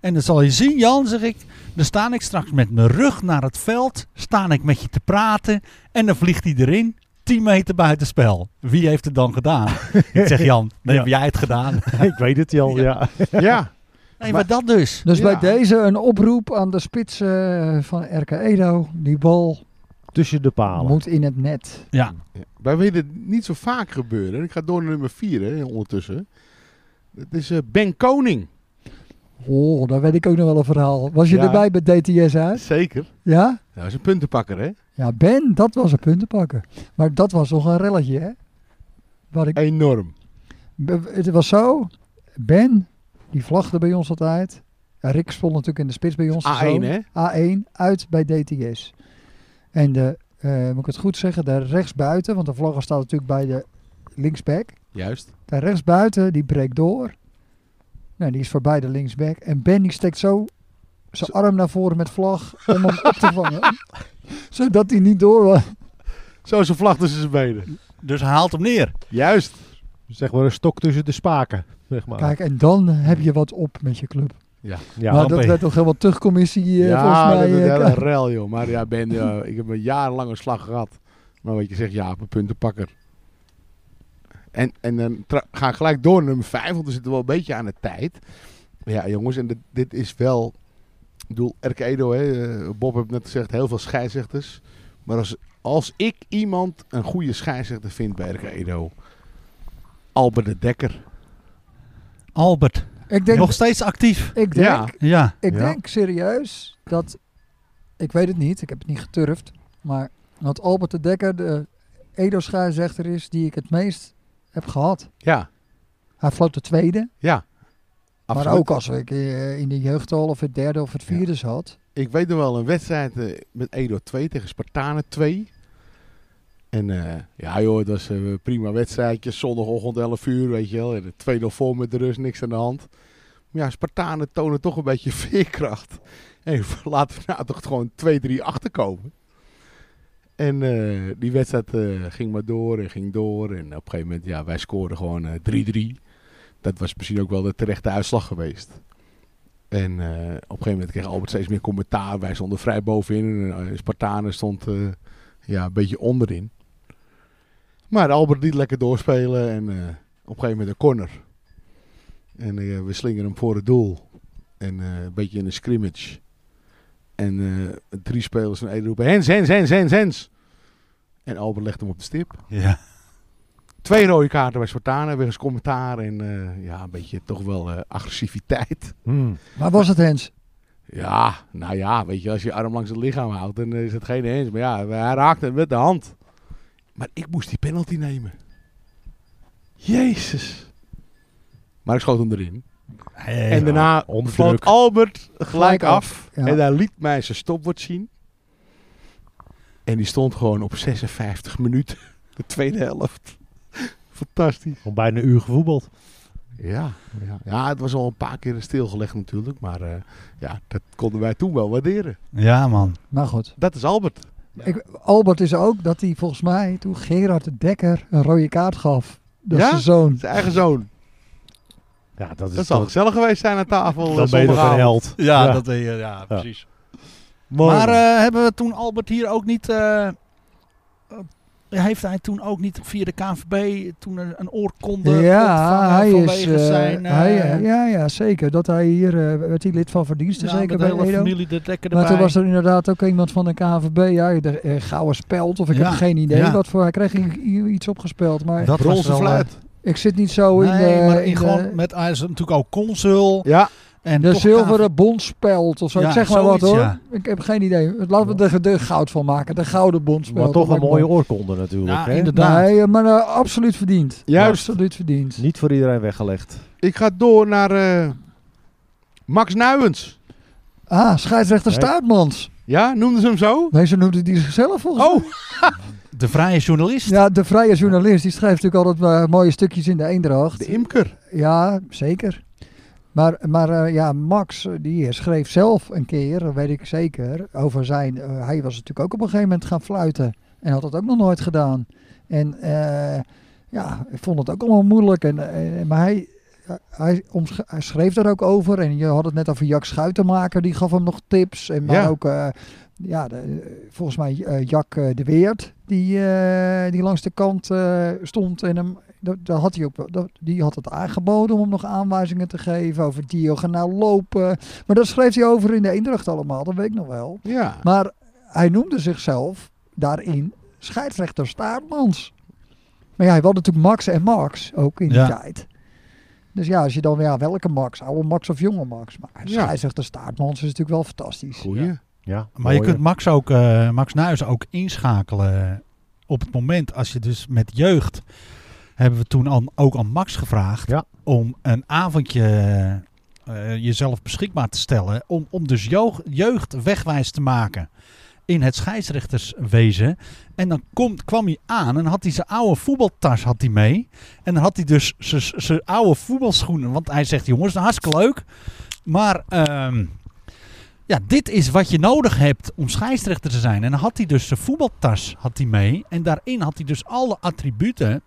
En dan zal je zien, Jan, zeg ik... Dan sta ik straks met mijn rug naar het veld. Sta ik met je te praten. En dan vliegt hij erin. 10 meter buitenspel. Wie heeft het dan gedaan? ik zeg Jan, dan heb jij het gedaan. ik weet het al, ja. ja. Nee, maar dat dus. Dus Ja. bij deze een oproep aan de spits eh, van RK Edo. Die bal Tussen de palen. moet in het net. Ja, Wij willen het niet zo vaak gebeuren. Ik ga door naar nummer 4 hè, ondertussen. Het is eh, Ben Koning. Oh, daar weet ik ook nog wel een verhaal. Was je Ja. erbij bij DTS uit? Zeker. Ja? Nou, hij is een puntenpakker, hè? Ja, Ben, dat was een puntenpakker. Maar dat was nog een relletje, hè? Waar ik, Enorm. b- het was zo, Ben, die vlagde bij ons altijd. Ja, Rick stond natuurlijk in de spits bij ons. A1, zo. hè? A1, uit bij DTS. En de, eh, moet ik het goed zeggen, daar rechtsbuiten, want de vlagger staat natuurlijk bij de linksback. Juist. Daar rechtsbuiten, die breekt door. Nou, die is voorbij de linksback. En Ben die steekt zo zijn arm naar voren met vlag om hem op te vangen. Zodat hij niet door was. Zo is een vlag tussen zijn benen. dus hij haalt hem neer. Juist. Zeg maar een stok tussen de spaken, zeg Ah. maar. Kijk, en dan heb je wat op met je club. ja, maar dan dat ben je- werd toch helemaal terugcommissie eh, ja, volgens dat mij. is een eh, hele Ka- rel, joh. Maar ja, Ben, eh, ik heb een jarenlange slag gehad. Maar wat je zegt, ja, op een puntenpakker. En, en dan tra- ga ik gelijk door naar nummer 5, want we zitten wel een beetje aan de tijd. Ja, jongens, en dit, dit is wel... Ik bedoel, RK Edo, hè, eh, Bob heeft net gezegd, heel veel scheidsrechters. Maar als, als ik iemand een goede scheidsrechter vind bij RK Edo... Albert de Dekker. Albert, Ik denk, nog steeds actief. ik denk, Ja. Ja. ik Ja. denk serieus dat, ik weet het niet, ik heb het niet geturfd. Maar dat Albert de Dekker de edo-scheidsrechter is die ik het meest heb gehad. Ja, Hij floot de tweede. ja. Maar Absoluut. ook als ik eh, in de jeugd al of het derde of het vierde zat. Ik weet nog wel een wedstrijd eh, met Edo 2 tegen Spartanen 2. En eh, ja joh, het was een prima wedstrijdje. Zondagochtend 11 uur, weet je wel. En de 2-0 voor met de rust, niks aan de hand. Maar ja, Spartanen tonen toch een beetje veerkracht. En laten we nou toch gewoon 2-3 achterkomen. En eh, die wedstrijd eh, ging maar door en ging door. En op een gegeven moment, ja, wij scoorden gewoon eh, 3-3. Dat was misschien ook wel de terechte uitslag geweest. En eh, op een gegeven moment kreeg Albert steeds meer commentaar. Wij stonden vrij bovenin. En eh, Spartanen stond eh, ja, een beetje onderin. Maar Albert liet lekker doorspelen. En eh, op een gegeven moment een corner. En eh, we slingen hem voor het doel. En eh, een beetje in een scrimmage. En eh, drie spelers van Ede roepen... Hens, Hens, Hens, Hens, Hens. En Albert legt hem op de stip. Ja. Twee rode kaarten bij Spartanen. Weer eens commentaar. En eh, ja, een beetje toch wel eh, agressiviteit. Hmm. Maar was het Hens? Ja, nou ja, weet je, als je je arm langs het lichaam houdt, dan eh, is het geen eens. Maar ja, hij raakte het met de hand. Maar ik moest die penalty nemen. Jezus. Maar ik schoot hem erin. Hey, en daarna onder vloot druk. Albert gelijk Gelijk af. ja. En daar liet mij zijn stopwoord zien. En die stond gewoon op 56 minuten. De tweede helft. Fantastisch. Om bijna een uur gevoetbald. Ja, ja. ja, het was al een paar keer stilgelegd natuurlijk. Maar eh, ja, dat konden wij toen wel waarderen. Ja, man. Maar goed. Dat is Albert. Ik, Albert is ook dat hij volgens mij toen Gerard de Dekker een rode kaart gaf. Dat Ja? is zijn zoon. Zijn eigen zoon. Ja, dat is Dat zal toch- gezellig geweest zijn aan tafel. eh, Dan ben je toch een zondagavond. held. Ja, Ja. Dat, eh, ja precies. Mooi, Maar man. eh, hebben we toen Albert hier ook niet... eh, eh, heeft hij toen ook niet via de KNVB toen een, een oorkonde ontvangen Ja, hij is. nou, vanwege eh, zijn... eh, hij, ja, ja, zeker. Dat hij hier eh, werd hij lid van verdiensten, ja, zeker nou, met de bij hele Edo. familie de dekker erbij. Maar toen was er inderdaad ook iemand van de KNVB, ja, de eh, gouden speld of ik Ja, heb geen idee ja. wat voor. Hij kreeg i- i- iets opgespeld, maar Dat was Bronzen wel, eh, fluit. ik zit niet zo in. nee, eh, maar in in gewoon met hij is natuurlijk ook consul Ja, en de toch zilveren bondspeld of zo. Ja, ik zeg maar wat zoiets, hoor. ja. Ik heb geen idee. Laten we er de goud van maken. De gouden bondspeld. maar toch Dat een lijkt mooie me- oorkonde natuurlijk. Ja, hè? inderdaad. Nee, eh, maar eh, absoluut verdiend. juist. Absoluut verdiend. Niet voor iedereen weggelegd. Ik ga door naar eh, Max Nuijens. Ah, scheidsrechter Nee. Staartmans. Ja, noemden ze hem zo? Nee, zo noemde hij zichzelf volgens mij. Oh, de vrije journalist. Ja, de vrije journalist. Die schrijft natuurlijk altijd eh, mooie stukjes in de Eendracht. de imker. Ja, zeker. Maar, maar eh, ja, Max eh, die schreef zelf een keer, dat weet ik zeker, over zijn... eh, hij was natuurlijk ook op een gegeven moment gaan fluiten. En had dat ook nog nooit gedaan. En eh, ja, ik vond het ook allemaal moeilijk. En, eh, maar hij, hij, omsch- hij schreef daar ook over. En je had het net over Jack Schuitenmaker, die gaf hem nog tips. En maar Ja. ook, eh, ja, de- volgens mij eh, Jack eh, de Weert, die, eh, die langs de kant eh, stond en hem dat, dat had hij ook, wel- dat, die had het aangeboden om hem nog aanwijzingen te geven over diagonaal nou lopen. Maar dat schreef hij over in de Eendracht allemaal, dat weet ik nog wel. Ja. Maar hij noemde zichzelf daarin scheidsrechter Staartmans. Maar ja, hij had natuurlijk Max en Max ook in die Ja. tijd. Dus ja, als je dan, ja, welke Max? Oude Max of jonge Max? Maar Ja. scheidsrechter Staartmans is natuurlijk wel fantastisch. Goeie. Ja, Maar je mooi, kunt Max ook, eh Max Nuis ook inschakelen op het moment als je dus met jeugd hebben we toen aan, ook aan Max gevraagd Ja. om een avondje eh, jezelf beschikbaar te stellen om, om dus jeugd, jeugd wegwijs te maken in het scheidsrechterswezen. En dan komt, kwam hij aan en had hij zijn oude voetbaltas had hij mee. En dan had hij dus zijn- zijn oude voetbalschoenen. Want hij zegt, jongens, dat is hartstikke leuk. Maar ehm, ja, dit is wat je nodig hebt om scheidsrechter te zijn. En dan had hij dus zijn voetbaltas had hij mee. En daarin had hij dus alle attributen.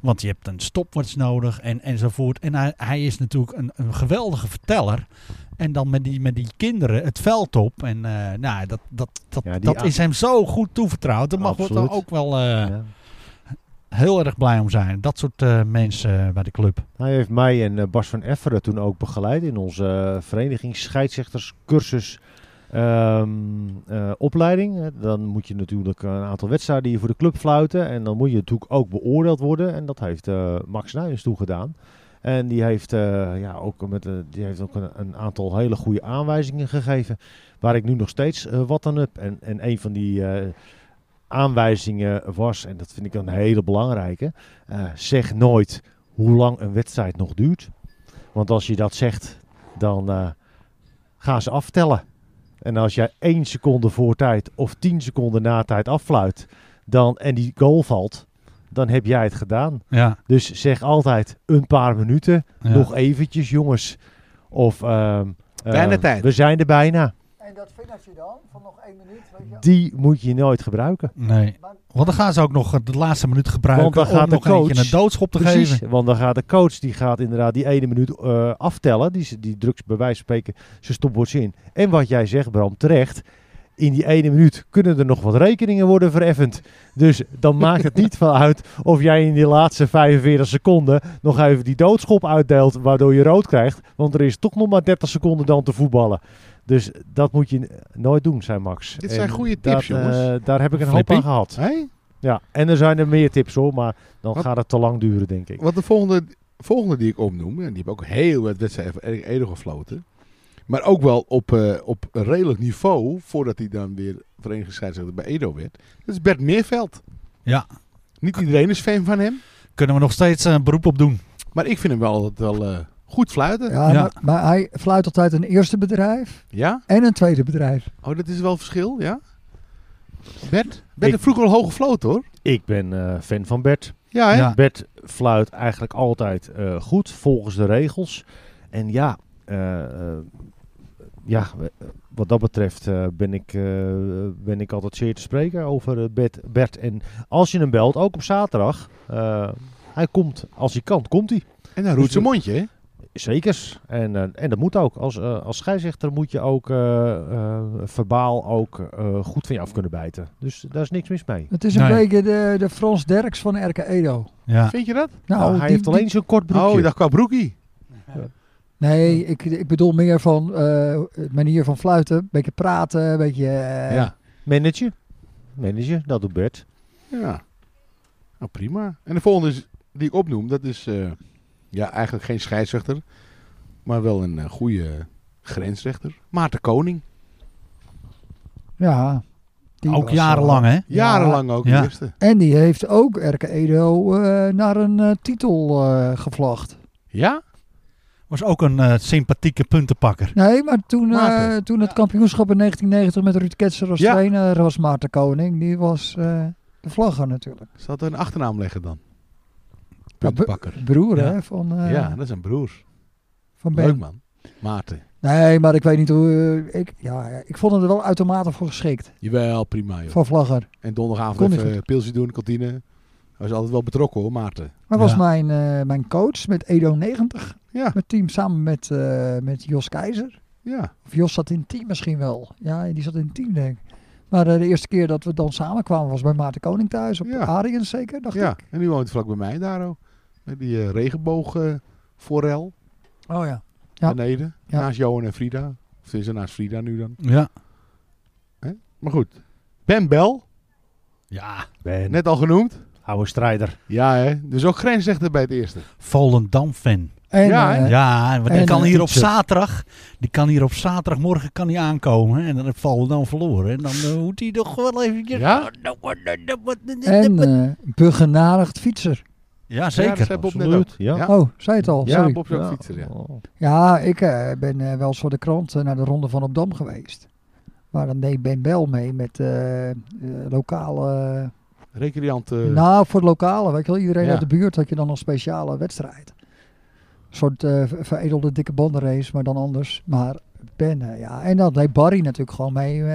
Want je hebt een stopwatch nodig en, enzovoort. En hij, hij is natuurlijk een, een geweldige verteller. En dan met die, met die kinderen het veld op. En eh, nou, dat, dat, dat, Ja, die dat a- is hem zo goed toevertrouwd. Daar mag wordt dan Absoluut. ook wel eh, hè? Ja. heel erg blij om zijn. Dat soort eh, mensen bij de club. Hij heeft mij en eh, Bas van Efferen toen ook begeleid in onze eh, verenigingsscheidsrechterscursus. ehm, eh, opleiding. Eh, Dan moet je natuurlijk een aantal wedstrijden hier voor de club fluiten. En dan moet je natuurlijk ook beoordeeld worden. En dat heeft eh, Max Nijens toen gedaan. En die heeft, eh, ja, ook, met, eh, die heeft ook een, een aantal hele goede aanwijzingen gegeven. Waar ik nu nog steeds eh, wat aan heb. En, en een van die eh, aanwijzingen was, en dat vind ik een hele belangrijke. eh, zeg nooit hoe lang een wedstrijd nog duurt. Want als je dat zegt, dan eh, gaan ze aftellen. En als jij één seconde voor tijd of tien seconden na tijd affluit dan, en die goal valt, dan heb jij het gedaan. Ja, Dus zeg altijd een paar minuten, nog eventjes jongens. Of ehm, Bijna ehm, tijd. we zijn er bijna. En dat vingertje dan, van nog één minuut, weet je, Die moet je nooit gebruiken. Nee. Want dan gaan ze ook nog eh, de laatste minuut gebruiken Want dan gaat om de nog eentje coach- een doodschop te geven. want dan gaat de coach die gaat inderdaad die ene minuut eh, aftellen. Die, ze- die drukt bij wijze van spreken zijn stopwoords in. En wat jij zegt, Bram, terecht. In die ene minuut kunnen er nog wat rekeningen worden vereffend. Dus dan maakt het niet van uit of jij in die laatste 45 seconden nog even die doodschop uitdeelt. Waardoor je rood krijgt. Want er is toch nog maar 30 seconden dan te voetballen. Dus dat moet je n- nooit doen, zei Max. Dit zijn En goede tips, dat, eh, jongens. daar heb ik een Flippy. hoop aan gehad. Hé? Ja, en er zijn er meer tips hoor, maar dan Wat- gaat het te lang duren, denk ik. Want de volgende, volgende die ik opnoem, en die heb ook heel wat wedstrijden van Erik Ede gefloten. Maar ook wel op, eh, op een redelijk niveau, voordat hij dan weer verenigd scheidsrechter bij Edo werd. Dat is Bert Meerveld. Ja. Niet iedereen is fan van hem, Kunnen we nog steeds eh, een beroep op doen. maar ik vind hem wel altijd wel eh, Goed fluiten. Ja? Ja, Ja. Maar, maar hij fluit altijd een eerste bedrijf en een tweede bedrijf. Oh, dat is wel verschil, ja? Bert? Bert Ik- heeft vroeger wel hoog gefloten, hoor. Ik ben eh, fan van Bert. Ja, hè? Ja. Bert fluit eigenlijk altijd eh, goed, volgens de regels. En ja, eh, eh, ja we- eh, wat dat betreft eh, ben, ik, eh, ben ik altijd zeer te spreken over eh, Bert, Bert. En als je hem belt, ook op zaterdag, eh, hij komt, als hij kan, komt hij. En dan roet zijn mondje, hè? Zekers. En, eh, en dat moet ook. Als, eh als scheidsrechter moet je ook eh, eh, verbaal ook eh, goed van je af kunnen bijten. Dus daar is niks mis mee. Het is een Nee. beetje de, de Frans Derks van RK Edo. Ja. Vind je dat? Nou, hij die- heeft alleen zo'n kort broekje. Oh, ik dacht qua broekie. Nee, ik, ik bedoel meer van eh, het manier van fluiten. Een beetje praten, een beetje... eh, ja. Manager. Manager, dat doet Bert. Ja. Nou, prima. En de volgende is, die ik opnoem, dat is eh, ja, eigenlijk geen scheidsrechter, maar wel een eh, goede grensrechter. Maarten Koning. ja. Die Ook was, eh, jarenlang, hè? Jarenlang ook Ja. de eerste. En die heeft ook RK Edo eh, naar een eh, titel eh gevlacht. Ja? Was ook een eh, sympathieke puntenpakker. Nee, maar toen, eh, Maarten. toen het kampioenschap in 1990 met Ruud Ketser als Ja. trainer was Maarten Koning. Die was eh, de vlagger natuurlijk. Zal er een achternaam leggen dan? Puntenpakker. Broer Ja. hè, van, eh ja, dat is een broer. van Ben. Leuk man. Maarten. Nee, maar ik weet niet hoe... eh, ik, ja, ja, ik vond het er wel uitermate voor geschikt. Jawel, prima joh. Van vlagger. En donderdagavond Kon niet even een pilsje doen in de kantine. Hij was altijd wel betrokken hoor, Maarten. Maar was Ja. mijn, eh, mijn coach met Edo 90. Ja, Met team samen met, eh, met Jos Keizer. ja. Of Jos zat in team misschien wel. Ja, die zat in team denk ik. Maar eh, de eerste keer dat we dan samenkwamen was bij Maarten Koning thuis. Op Ja. Ariens zeker, dacht ja. ik. En nu woont hij vlak bij mij daar ook. Met die eh, regenboog eh, forel. Oh ja. Ja. beneden. Ja. Naast Johan en Frida. Of is er naast Frida nu dan. Ja. Maar goed. Ben Bel, Ja. Ben, net al genoemd. oude strijder. Ja, hè. Dus ook grensrechter bij het eerste. Volendam-fan. En, Ja, hè? eh, Ja, want die en kan een hier op fietser. zaterdag, die kan hier op zaterdagmorgen kan hij aankomen. hè, En dan heeft Volendam verloren. En dan eh, moet hij toch wel eventjes... Nou, Ja? en eh, begenadigd fietser. Ja, Ja, dat zeker. zei Bob net ook. Absoluut. Ja. Ja. Oh, zei het al. Ja, Sorry. Bob is ook fietser, ja. Oh. Ja, ik eh, ben eh, wel eens voor de krant eh, naar de Ronde van Opdam geweest. Maar dan deed Ben Bel mee met eh, eh, lokale... Recreant. eh, nou, voor het lokale, weet je wel. Iedereen ja. uit de buurt had je dan een speciale wedstrijd. Een soort eh, ver- veredelde dikke bandenrace, maar dan anders. Maar Ben, eh, ja. En dan deed Barry natuurlijk gewoon mee, eh,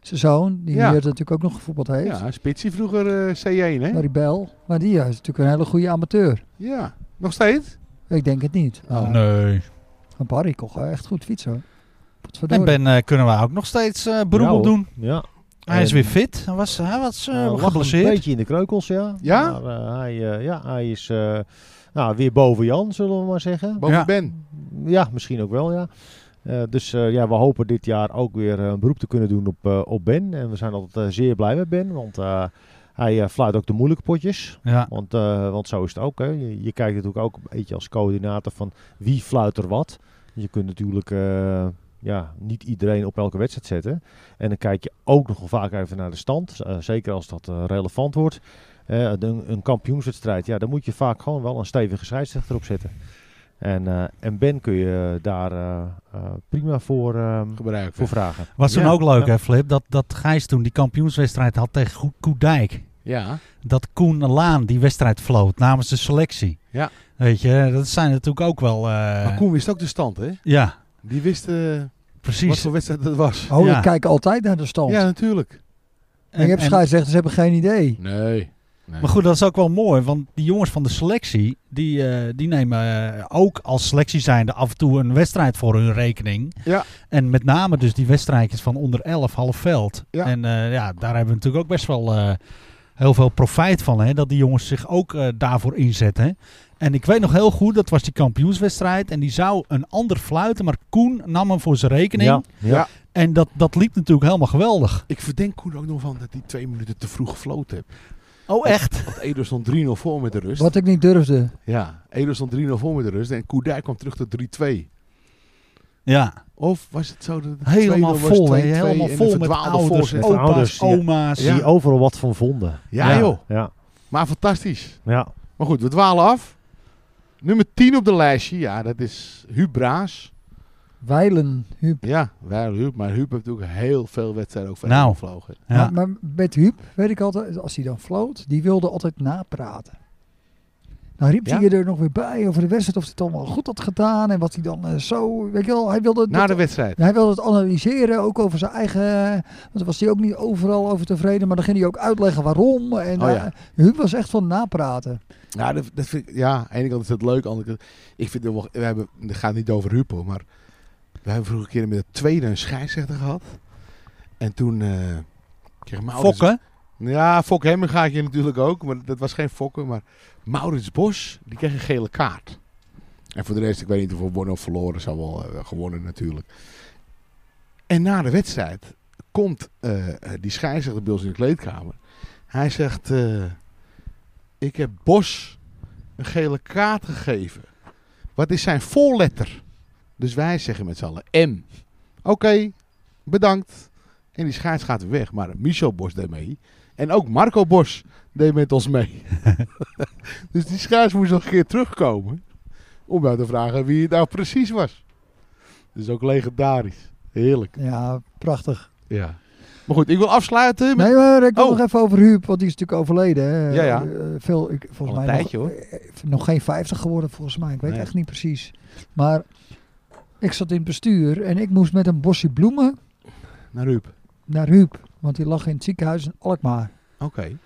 zijn zoon. Die Ja. hier natuurlijk ook nog gevoetbald heeft. ja, Spitsie vroeger eh, C1, hè? Barry Bel. Maar die eh, is natuurlijk een hele goede amateur. Ja. Nog steeds? Ik denk het niet. Oh. Maar- Oh, Nee. Maar Barry kon gewoon echt goed fietsen hoor. Potverdorie. En Ben eh, kunnen we ook nog steeds eh beroep Ja, op hoor. doen. Ja. Hij is En- weer fit. Hij was, hij was eh, Eh, lag een geblesseerd. beetje in de kreukels, ja. Ja? Maar eh, hij, eh, ja, hij is eh, nou, weer boven Jan, zullen we maar zeggen. Boven Ja. Ben. Ja, misschien ook wel, ja. Eh, dus eh, ja, we hopen dit jaar ook weer eh, een beroep te kunnen doen op, eh, op Ben. En we zijn altijd eh, zeer blij met Ben, want eh, hij eh, fluit ook de moeilijke potjes. Ja. Want, eh, want zo is het ook. Hè. Je, je kijkt natuurlijk ook een beetje als coördinator van wie fluit er wat. Je kunt natuurlijk eh, ja, niet iedereen op elke wedstrijd zetten. En dan kijk je ook nog wel vaak even naar de stand. eh, zeker als dat eh, relevant wordt. Eh, de- een, kampioenswedstrijd, ja, dan moet je vaak gewoon wel een stevige scheidsrechter op zetten. En, eh, en Ben kun je daar eh, eh, prima voor, ehm, Gebruik. voor vragen. Was dan Ja. ook leuk, Ja. hè, Flip? Dat, dat Gijs toen die kampioenswedstrijd had tegen Ko- Koedijk. Ja. dat Koen Laan die wedstrijd floot namens de selectie. Ja. Weet je, dat zijn natuurlijk ook wel... eh, Maar Koen wist ook de stand, hè? Ja, Die wist eh, wat precies. voor wedstrijd dat was. Oh, Ja. ik kijk altijd naar de stand. Ja, natuurlijk. En je hebt en- scheidsrechters hebben geen idee. Nee. nee. Maar goed, dat is ook wel mooi, want die jongens van de selectie, die, eh, die nemen eh, ook als selectie zijnde af en toe een wedstrijd voor hun rekening. Ja. En met name dus die wedstrijdjes van onder 11, half veld. Ja. En eh, ja, daar hebben we natuurlijk ook best wel eh, heel veel profijt van, hè, dat die jongens zich ook eh, daarvoor inzetten. hè. En ik weet nog heel goed, dat was die kampioenswedstrijd en die zou een ander fluiten, maar Koen nam hem voor zijn rekening. Ja, ja. Ja. En dat, dat liep natuurlijk helemaal geweldig. Ik verdenk Koen ook nog van dat hij twee minuten te vroeg gefloten heeft. Oh, echt? Want Edo stond 3-0 voor met de rust. Wat ik niet durfde. Ja, Edo stond 3-0 voor met de rust. En Koedijk kwam terug tot 3-2. Ja, Of was het zo dat het 2-0 helemaal was, vol. hè. 2-2 en Helemaal een vol met verdwaalde ouders, Oh. voorzet? Met opa's, ouders, ja. oma's. Zie je overal wat van vonden. Ja, joh, Ja, maar fantastisch. ja. Maar goed, we dwalen af. Nummer 10 op de lijstje, ja, dat is Huub Braas. Weilen, Huub. Ja, wel Huub, maar Huub heeft natuurlijk heel veel wedstrijden ook voor Nou. hem gevlogen. Ja. Maar, maar met Huub weet ik altijd, als hij dan floot, die wilde altijd napraten. Dan riep Ja? hij er nog weer bij over de wedstrijd, of hij het allemaal goed had gedaan en wat hij dan eh, zo, weet je wel, hij wilde, Na dat- de wedstrijd. hij wilde het analyseren, ook over zijn eigen, want daar was hij ook niet overal over tevreden, maar dan ging hij ook uitleggen waarom. En Oh eh, ja. Huub was echt van napraten. Nou, dat, dat vind ik, ja, aan de ene kant is dat leuk, aan de andere kant, ik vind het wel, we hebben, het gaat niet over Huub, hoor, maar we hebben vroeger een keer met de tweede een scheidsrechter gehad. En toen eh kreeg Maurits... Fokken. Ja, Fok Hemmingaatje natuurlijk ook, maar dat was geen Fokken. Maar Maurits Bos, die kreeg een gele kaart. En voor de rest, ik weet niet of we wonnen of verloren, zou wel eh, gewonnen natuurlijk. En na de wedstrijd komt eh, eh, die scheidsrechter bij ons in de kleedkamer. Hij zegt, eh, ik heb Bos een gele kaart gegeven. Wat is zijn voorletter? Dus wij zeggen met z'n allen M. Oké, bedankt. En die scheids gaat weer weg, maar Michel Bos deed mee. En ook Marco Bos deed met ons mee. dus die schaars moest nog een keer terugkomen. Om nou te vragen wie het nou precies was. Dat is ook legendarisch. Heerlijk. Ja, prachtig. Ja. Maar goed, ik wil afsluiten met... Nee, maar ik wil Oh. nog even over Huub, want die is natuurlijk overleden. hè. Ja, ja. Eh, veel, ik, Al volgens een mij nog- tijdje, hoor. eh, nog geen 50 geworden volgens mij. Ik weet Nee. echt niet precies. Maar ik zat in het bestuur en ik moest met een bosje bloemen Naar Ruup. naar Huub. Want die lag in het ziekenhuis in Alkmaar. Oké.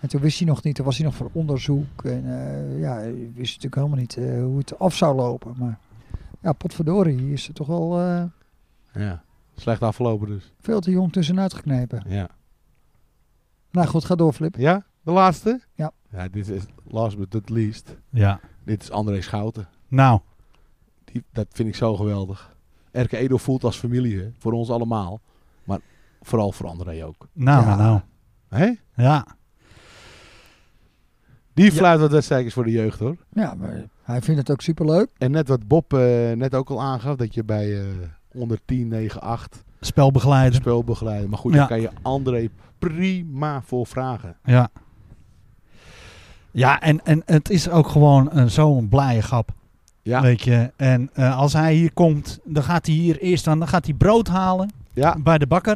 En toen wist hij nog niet, toen was hij nog voor onderzoek. En eh, ja, hij wist natuurlijk helemaal niet eh, hoe het af zou lopen. Maar ja, potverdorie, is er toch wel eh, Ja. Slecht afgelopen dus. veel te jong tussenuit geknepen. Ja. Nou goed, ga door Flip. Ja? De laatste? Ja. Ja, dit is last but not least. Ja. Dit is André Schouten. Nou, Die, dat vind ik zo geweldig. Erke Edo voelt als familie, hè. Voor ons allemaal. Maar vooral voor André ook. nou, Ja. nou, nou. Hè? Ja. Die fluit wat wedstrijdjes voor de jeugd hoor. Ja, maar hij vindt het ook superleuk. En net wat Bob eh, net ook al aangaf, dat je bij eh, onder 10, 9, 8 Spelbegeleider. speel begeleidt. Maar goed, Ja. daar kan je André prima voor vragen. Ja. Ja, en, en het is ook gewoon een- zo'n blije grap. Ja. Weet je. En eh, als hij hier komt, dan gaat hij hier eerst aan, dan gaat hij brood halen Ja, bij de bakker.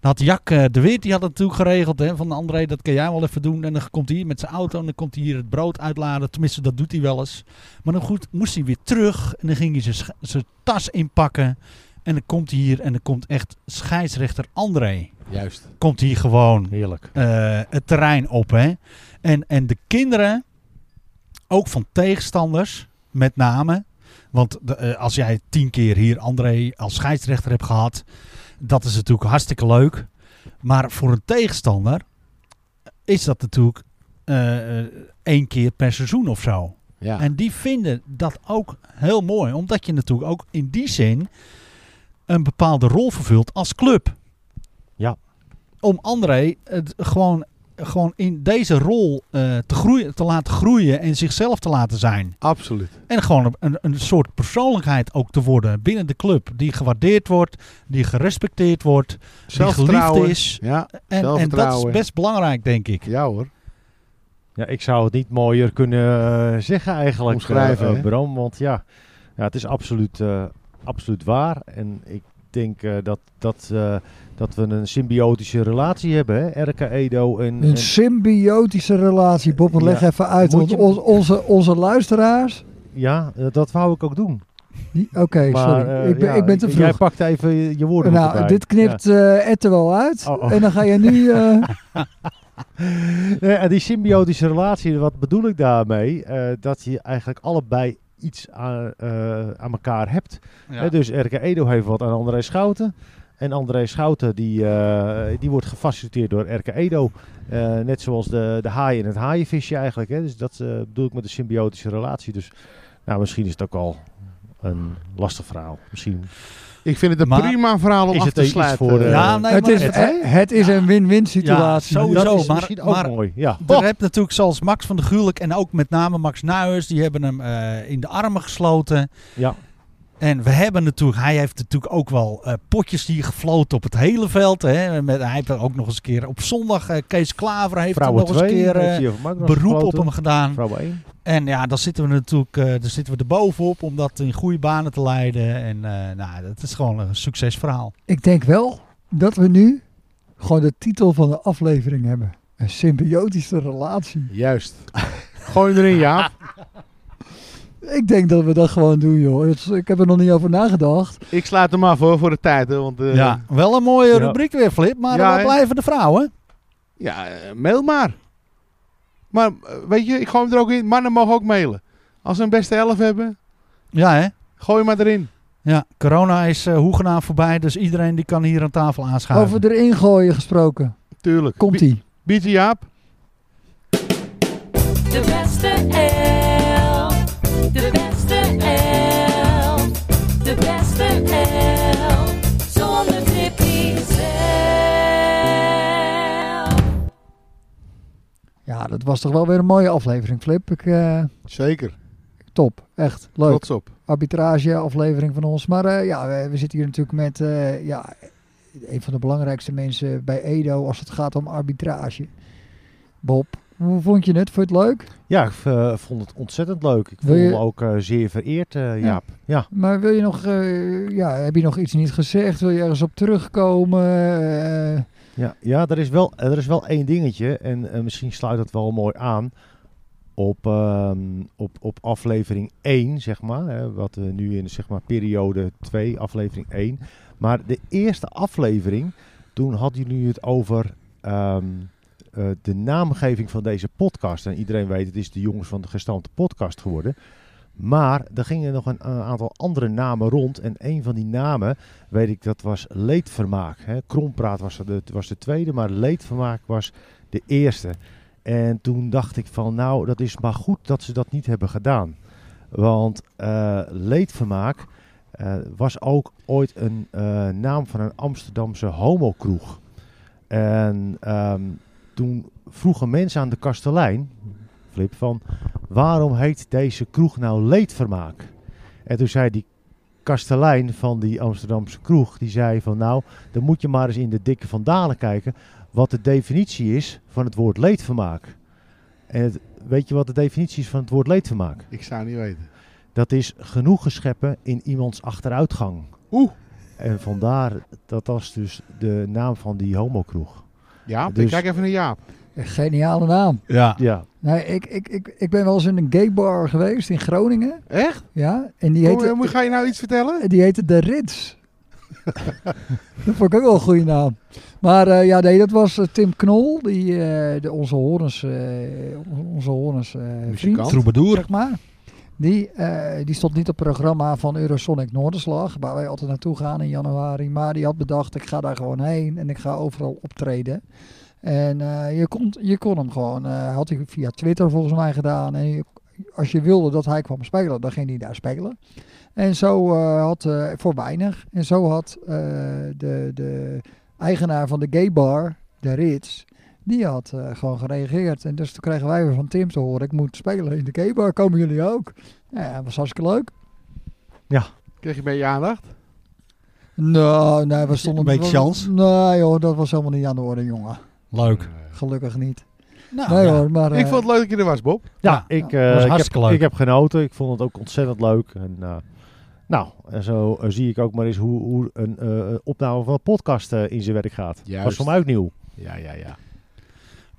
Dan had Jack eh, de Weert, die had het natuurlijk geregeld. Hè, van André, dat kan jij wel even doen. En dan komt hij hier met zijn auto en dan komt hij hier het brood uitladen. Tenminste, dat doet hij wel eens. Maar dan goed, moest hij weer terug en dan ging hij zijn sch- zijn tas inpakken. En dan komt hij hier en dan komt echt scheidsrechter André. juist. Komt hier gewoon Heerlijk. eh, het terrein op. Hè? En, en de kinderen, ook van tegenstanders, met name. Want de, eh, als jij tien keer hier André als scheidsrechter hebt gehad, dat is natuurlijk hartstikke leuk. Maar voor een tegenstander is dat natuurlijk eh, eh, één keer per seizoen of zo. Ja. En die vinden dat ook heel mooi, omdat je natuurlijk ook in die zin een bepaalde rol vervult als club. Ja. Om André het gewoon, gewoon in deze rol eh, te, groeien, te laten groeien en zichzelf te laten zijn. Absoluut. En gewoon een, een soort persoonlijkheid ook te worden binnen de club. Die gewaardeerd wordt, die gerespecteerd wordt, die geliefd Zelfvertrouwen. is. Ja, En, en dat zelfvertrouwen. is best belangrijk, denk ik. ja hoor. Ja, ik zou het niet mooier kunnen eh, zeggen eigenlijk, Omschrijven, eh, eh, hè? Bram. Want ja, ja het is absoluut, eh, absoluut waar. En ik denk eh, dat, dat, eh, dat we een symbiotische relatie hebben, hè? Erke, Edo en... en- Een symbiotische relatie, Bob. Ja. Leg even uit, Moet want je- on- onze, onze luisteraars... ja, eh, dat wou ik ook doen. die- Oké, sorry. eh, ik, ben, ja, ik ben te Jij vroeg. pakt even je woorden Nou, erbij. dit knipt eh Ed er wel uit. Oh, oh. En dan ga je nu... eh, Nee, Eh, en die symbiotische relatie, wat bedoel ik daarmee? Eh, dat je eigenlijk allebei iets aan, eh, aan elkaar hebt. Hè, dus Erke Edo heeft wat aan André Schouten. En André Schouten die, eh, die wordt gefaciliteerd door Erke Edo. Eh, net zoals de, de haai en het haaienvisje eigenlijk. Hè? Dus dat eh, bedoel ik met de symbiotische relatie. Dus nou, misschien is het ook al een lastig verhaal. Misschien Ik vind het een Maar prima verhaal om is af het te iets sluiten. voor, eh, Ja, nee, het, maar is, het- eh, het is een win-win situatie. Ja, sowieso. dat is maar- misschien ook maar- mooi. Ja. Er hebt natuurlijk zoals Max van der Gulik en ook met name Max Nuijers, die hebben hem eh, in de armen gesloten. Ja. En we hebben natuurlijk, hij heeft natuurlijk ook wel eh, potjes hier gefloten op het hele veld. Hè. Met, hij heeft er ook nog eens een keer op zondag, eh, Kees Klaver heeft er Vrouwen nog eens een 2 keer eh, heeft hij over Magnus beroep op gesproken. hem gedaan. Vrouwen 1. En ja, dan zitten we natuurlijk eh dan zitten we er bovenop om dat in goede banen te leiden. En eh, nou, dat is gewoon een succesverhaal. Ik denk wel dat we nu gewoon de titel van de aflevering hebben. Een symbiotische relatie. Juist. Gooi hem erin, Jaap. Ik denk dat we dat gewoon doen, joh. Het is- Ik heb er nog niet over nagedacht. Ik sluit hem af hoor, voor de tijd. Hè, want, eh, ja, wel een mooie ja. rubriek weer, Flip. Maar Ja, waar hè? blijven de vrouwen? Ja, eh, mail maar. Maar eh, weet je, ik gooi hem er ook in. Mannen mogen ook mailen. Als ze een beste elf hebben, Ja, hè? gooi hem maar erin. Ja, corona is eh hoegenaamd voorbij, dus iedereen die kan hier aan tafel aanschuiven. Over erin gooien gesproken. Tuurlijk. Bi- Komt-ie. Biertje Jaap. De beste elf. De beste elf. De beste elf. Zonder Flippy zelf. Ja, dat was toch wel weer een mooie aflevering, Flip. Ik, eh, Zeker. top. Echt leuk. Trots op. Arbitrage aflevering van ons. Maar eh, ja, we, we zitten hier natuurlijk met eh, ja, een van de belangrijkste mensen bij Edo als het gaat om arbitrage. Bob, hoe vond je het? Vond je het leuk? Ja, ik eh, vond het ontzettend leuk. Ik Wil voel je- me ook eh, zeer vereerd, eh, Jaap. Ja. Maar wil je nog, eh, ja, heb je nog iets niet gezegd? Wil je ergens op terugkomen? Eh, Ja, ja er, is wel, er is wel één dingetje. En eh, misschien sluit dat wel mooi aan op, ehm, op, op aflevering 1, zeg maar. Hè, wat we nu in zeg maar, periode 2, aflevering 1. Maar de eerste aflevering, toen hadden jullie het over ehm, eh, de naamgeving van deze podcast. En iedereen weet, het is de Jongens van de Gestampte podcast geworden. Maar er gingen nog een, een aantal andere namen rond. En een van die namen weet ik, dat was leedvermaak. Hè. Krompraat was de, was de tweede, maar leedvermaak was de eerste. En toen dacht ik van, nou, dat is maar goed dat ze dat niet hebben gedaan. Want eh, leedvermaak eh, was ook ooit een eh, naam van een Amsterdamse homokroeg. En ehm, toen vroegen mensen aan de kastelein, Flip, van waarom heet deze kroeg nou leedvermaak? En toen zei die kastelein van die Amsterdamse kroeg, die zei van nou, dan moet je maar eens in de dikke van Dalen kijken wat de definitie is van het woord leedvermaak. En het, weet je wat de definitie is van het woord leedvermaak? Ik zou niet weten. Dat is genoegen scheppen in iemands achteruitgang. Oeh. En vandaar, dat was dus de naam van die homokroeg. Jaap, Dus- ik kijk even naar Jaap. een geniale naam. Ja. Ja, Nee, ik, ik, ik, ik ben wel eens in een gay bar geweest in Groningen. Echt? Ja, en die Hoe, hoe- heette, ga je nou iets vertellen? die heette De Rits. dat vond ik ook wel een goede naam. Maar eh, ja, nee, dat was eh, Tim Knol, die, eh, de, onze horens, eh, onze horens eh, vriend. Muzikant. Troubadour. zeg maar. Die, eh, die stond niet op het programma van Eurosonic Noorderslag, waar wij altijd naartoe gaan in januari. Maar die had bedacht, ik ga daar gewoon heen en ik ga overal optreden. En eh, je, kon, je kon hem gewoon, eh, had hij via Twitter volgens mij gedaan. En je- als je wilde dat hij kwam spelen, dan ging hij daar spelen. En zo eh, had, eh, voor weinig, en zo had eh, de, de eigenaar van de gay bar, de Ritz, die had eh, gewoon gereageerd. En dus toen kregen wij weer van Tim te horen: ik moet spelen in de K-bar, komen jullie ook? Nou Ja, dat was hartstikke leuk. Kreeg je bij je aandacht? Nou, nee, we stonden Een beetje chance. Nee, joh, dat was helemaal niet aan de orde, jongen. Leuk. Gelukkig niet. Nou, nee, ja. hoor, maar. eh, ik vond het leuk dat je er was, Bob. ja, Ja, ik, ja, eh, was ik, heb, hartstikke leuk. ik heb genoten. Ik vond het ook ontzettend leuk. En, eh, nou, en zo eh, zie ik ook maar eens hoe, hoe een eh, opname van een podcast eh, in zijn werk gaat. Juist. was voor mij ook nieuw. Ja, ja, ja.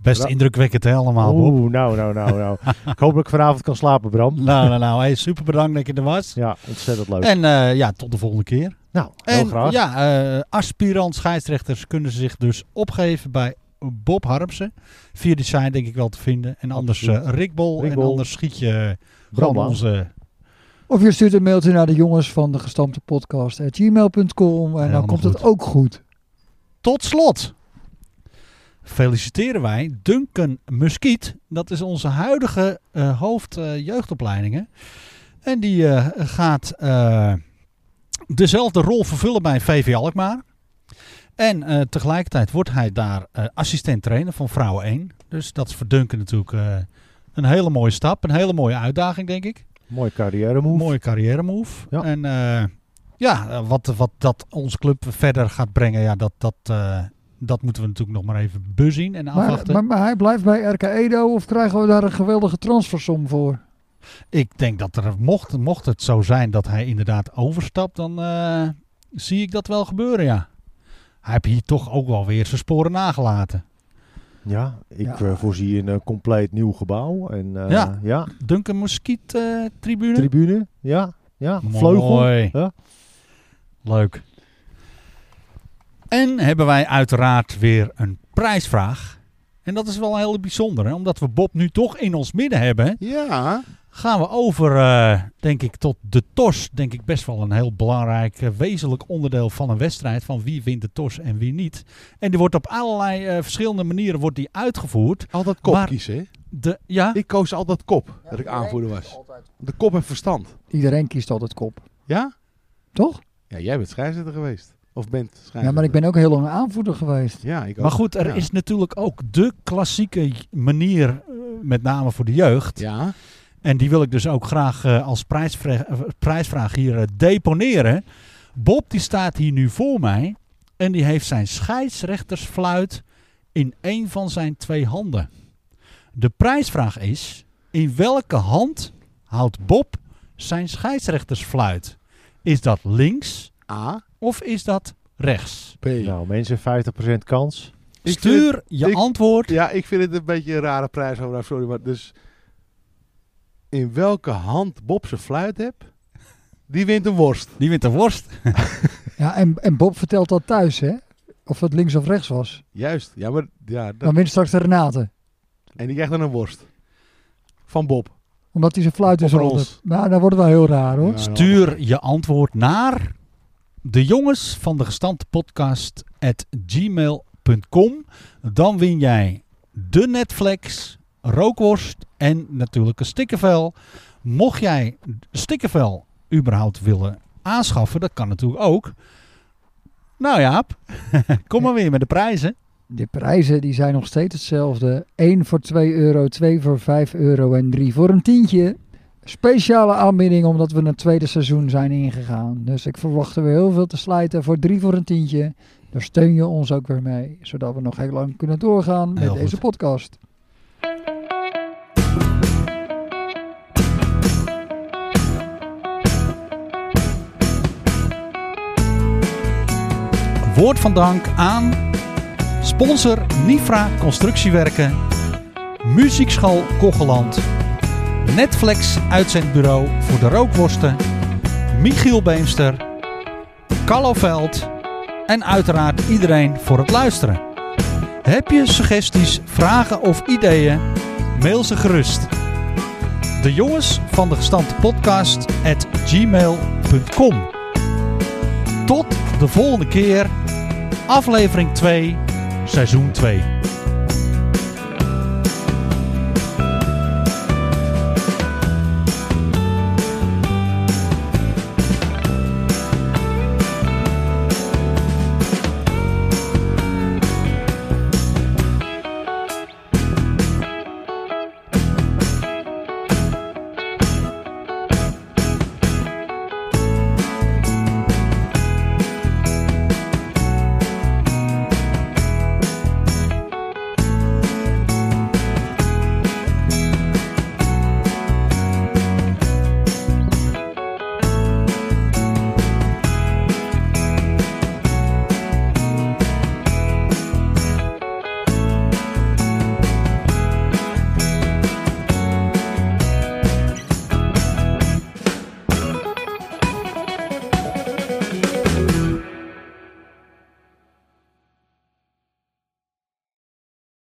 Best indrukwekkend hè, allemaal, Bob. Oeh, nou, nou, nou, nou. ik hoop dat ik vanavond kan slapen, Bram. Nou, nou, nou. Hey, super bedankt dat je er was. Ja, ontzettend leuk. En eh, ja, tot de volgende keer. nou, heel En graag. ja, eh, aspirant scheidsrechters kunnen zich dus opgeven bij Bob Harmsen. Via die site denk ik wel te vinden. En anders eh Absoluut. Rick Bol. Rick en Bol. anders schiet je Bram gewoon aan. onze... Of je stuurt een mailtje naar de jongens van de gestampte podcast at gmail.com en Helemaal dan komt goed. het ook goed. Tot slot feliciteren wij Duncan Muskiet. Dat is onze huidige eh, hoofd eh, jeugdopleidingen. En die eh, gaat eh, dezelfde rol vervullen bij VV Alkmaar. En eh, tegelijkertijd wordt hij daar eh, assistent trainer van Vrouwen 1. Dus dat is voor Duncan natuurlijk eh, een hele mooie stap. Een hele mooie uitdaging, denk ik. Mooie carrière move. Mooie carrière move. Ja. En eh, ja, eh, wat, wat dat onze club verder gaat brengen, ja, dat, dat, eh, dat moeten we natuurlijk nog maar even bezien en Maar, afwachten. maar, maar hij blijft bij RK Edo of krijgen we daar een geweldige transfersom voor? Ik denk dat er, mocht, mocht het zo zijn dat hij inderdaad overstapt, dan eh, zie ik dat wel gebeuren, ja. Hij heeft hier toch ook wel weer zijn sporen nagelaten. Ja, ik Ja. eh, voorzie een eh, compleet nieuw gebouw. En, eh, Ja. ja. Duncan Muskiet eh, tribune. tribune. Ja, ja. Mooi. vleugel. Ja. Leuk. En hebben wij uiteraard weer een prijsvraag. En dat is wel heel bijzonder, hè? omdat we Bob nu toch in ons midden hebben. Ja, gaan we over, eh, denk ik, tot de TOS. Denk ik best wel een heel belangrijk, eh, wezenlijk onderdeel van een wedstrijd. Van wie wint de TOS en wie niet. En die wordt op allerlei eh, verschillende manieren wordt die uitgevoerd. altijd kop Maar- kiezen. hè? De, ja, Ik koos altijd kop, dat ik aanvoerder was. De kop en verstand. Iedereen kiest altijd kop, Ja? toch? Ja, jij bent scheidsrechter geweest. Of bent scheidsrechter. Ja, maar ik ben ook heel lang aanvoerder geweest. Ja, ik ook. maar goed, er Ja. is natuurlijk ook de klassieke j- manier, eh, met name voor de jeugd. Ja, En die wil ik dus ook graag eh, als prijsvra- eh, prijsvraag hier eh, deponeren. Bob die staat hier nu voor mij en die heeft zijn scheidsrechtersfluit in één van zijn twee handen. De prijsvraag is, in welke hand houdt Bob zijn scheidsrechtersfluit? Is dat links A, of is dat rechts? B. Nou, mensen, 50% kans. Ik Stuur je ik- antwoord. Ja, ik vind het een beetje een rare prijs. Over, sorry, maar dus in welke hand Bob zijn fluit hebt, die wint een worst. Die wint de worst. Ja, en, en Bob vertelt dat thuis, hè? Of dat links of rechts was. Juist. Ja, maar ja, dat- Dan wint straks de Renate. en die krijgt dan een worst van Bob. Omdat hij zijn fluit is Op rond. ons. heeft. Nou, dat wordt wel heel raar, hoor. Ja, Stuur je antwoord naar de jongens van de gestampte podcast at gmail.com. Dan win jij de Netflix, rookworst en natuurlijk een stikkervel. Mocht jij stikkervel überhaupt willen aanschaffen, dat kan natuurlijk ook. Nou Jaap, kom maar weer met de prijzen. De prijzen die zijn nog steeds hetzelfde. 1 voor 2 euro, 2 voor 5 euro en 3 voor een tientje. Speciale aanbieding omdat we een tweede seizoen zijn ingegaan. Dus ik verwacht er weer heel veel te slijten voor 3 voor een tientje. Daar steun je ons ook weer mee, zodat we nog heel lang kunnen doorgaan met Heel goed. deze podcast. Woord van dank aan sponsor Nifra Constructiewerken, Muziekschool Kocheland, Netflix Uitzendbureau voor de Rookworsten, Michiel Beemster, Carlo Veld en uiteraard iedereen voor het luisteren. Heb je suggesties, vragen of ideeën? Mail ze gerust. De jongens van de gestampte podcast at gmail.com tot de volgende keer, aflevering 2, seizoen 2.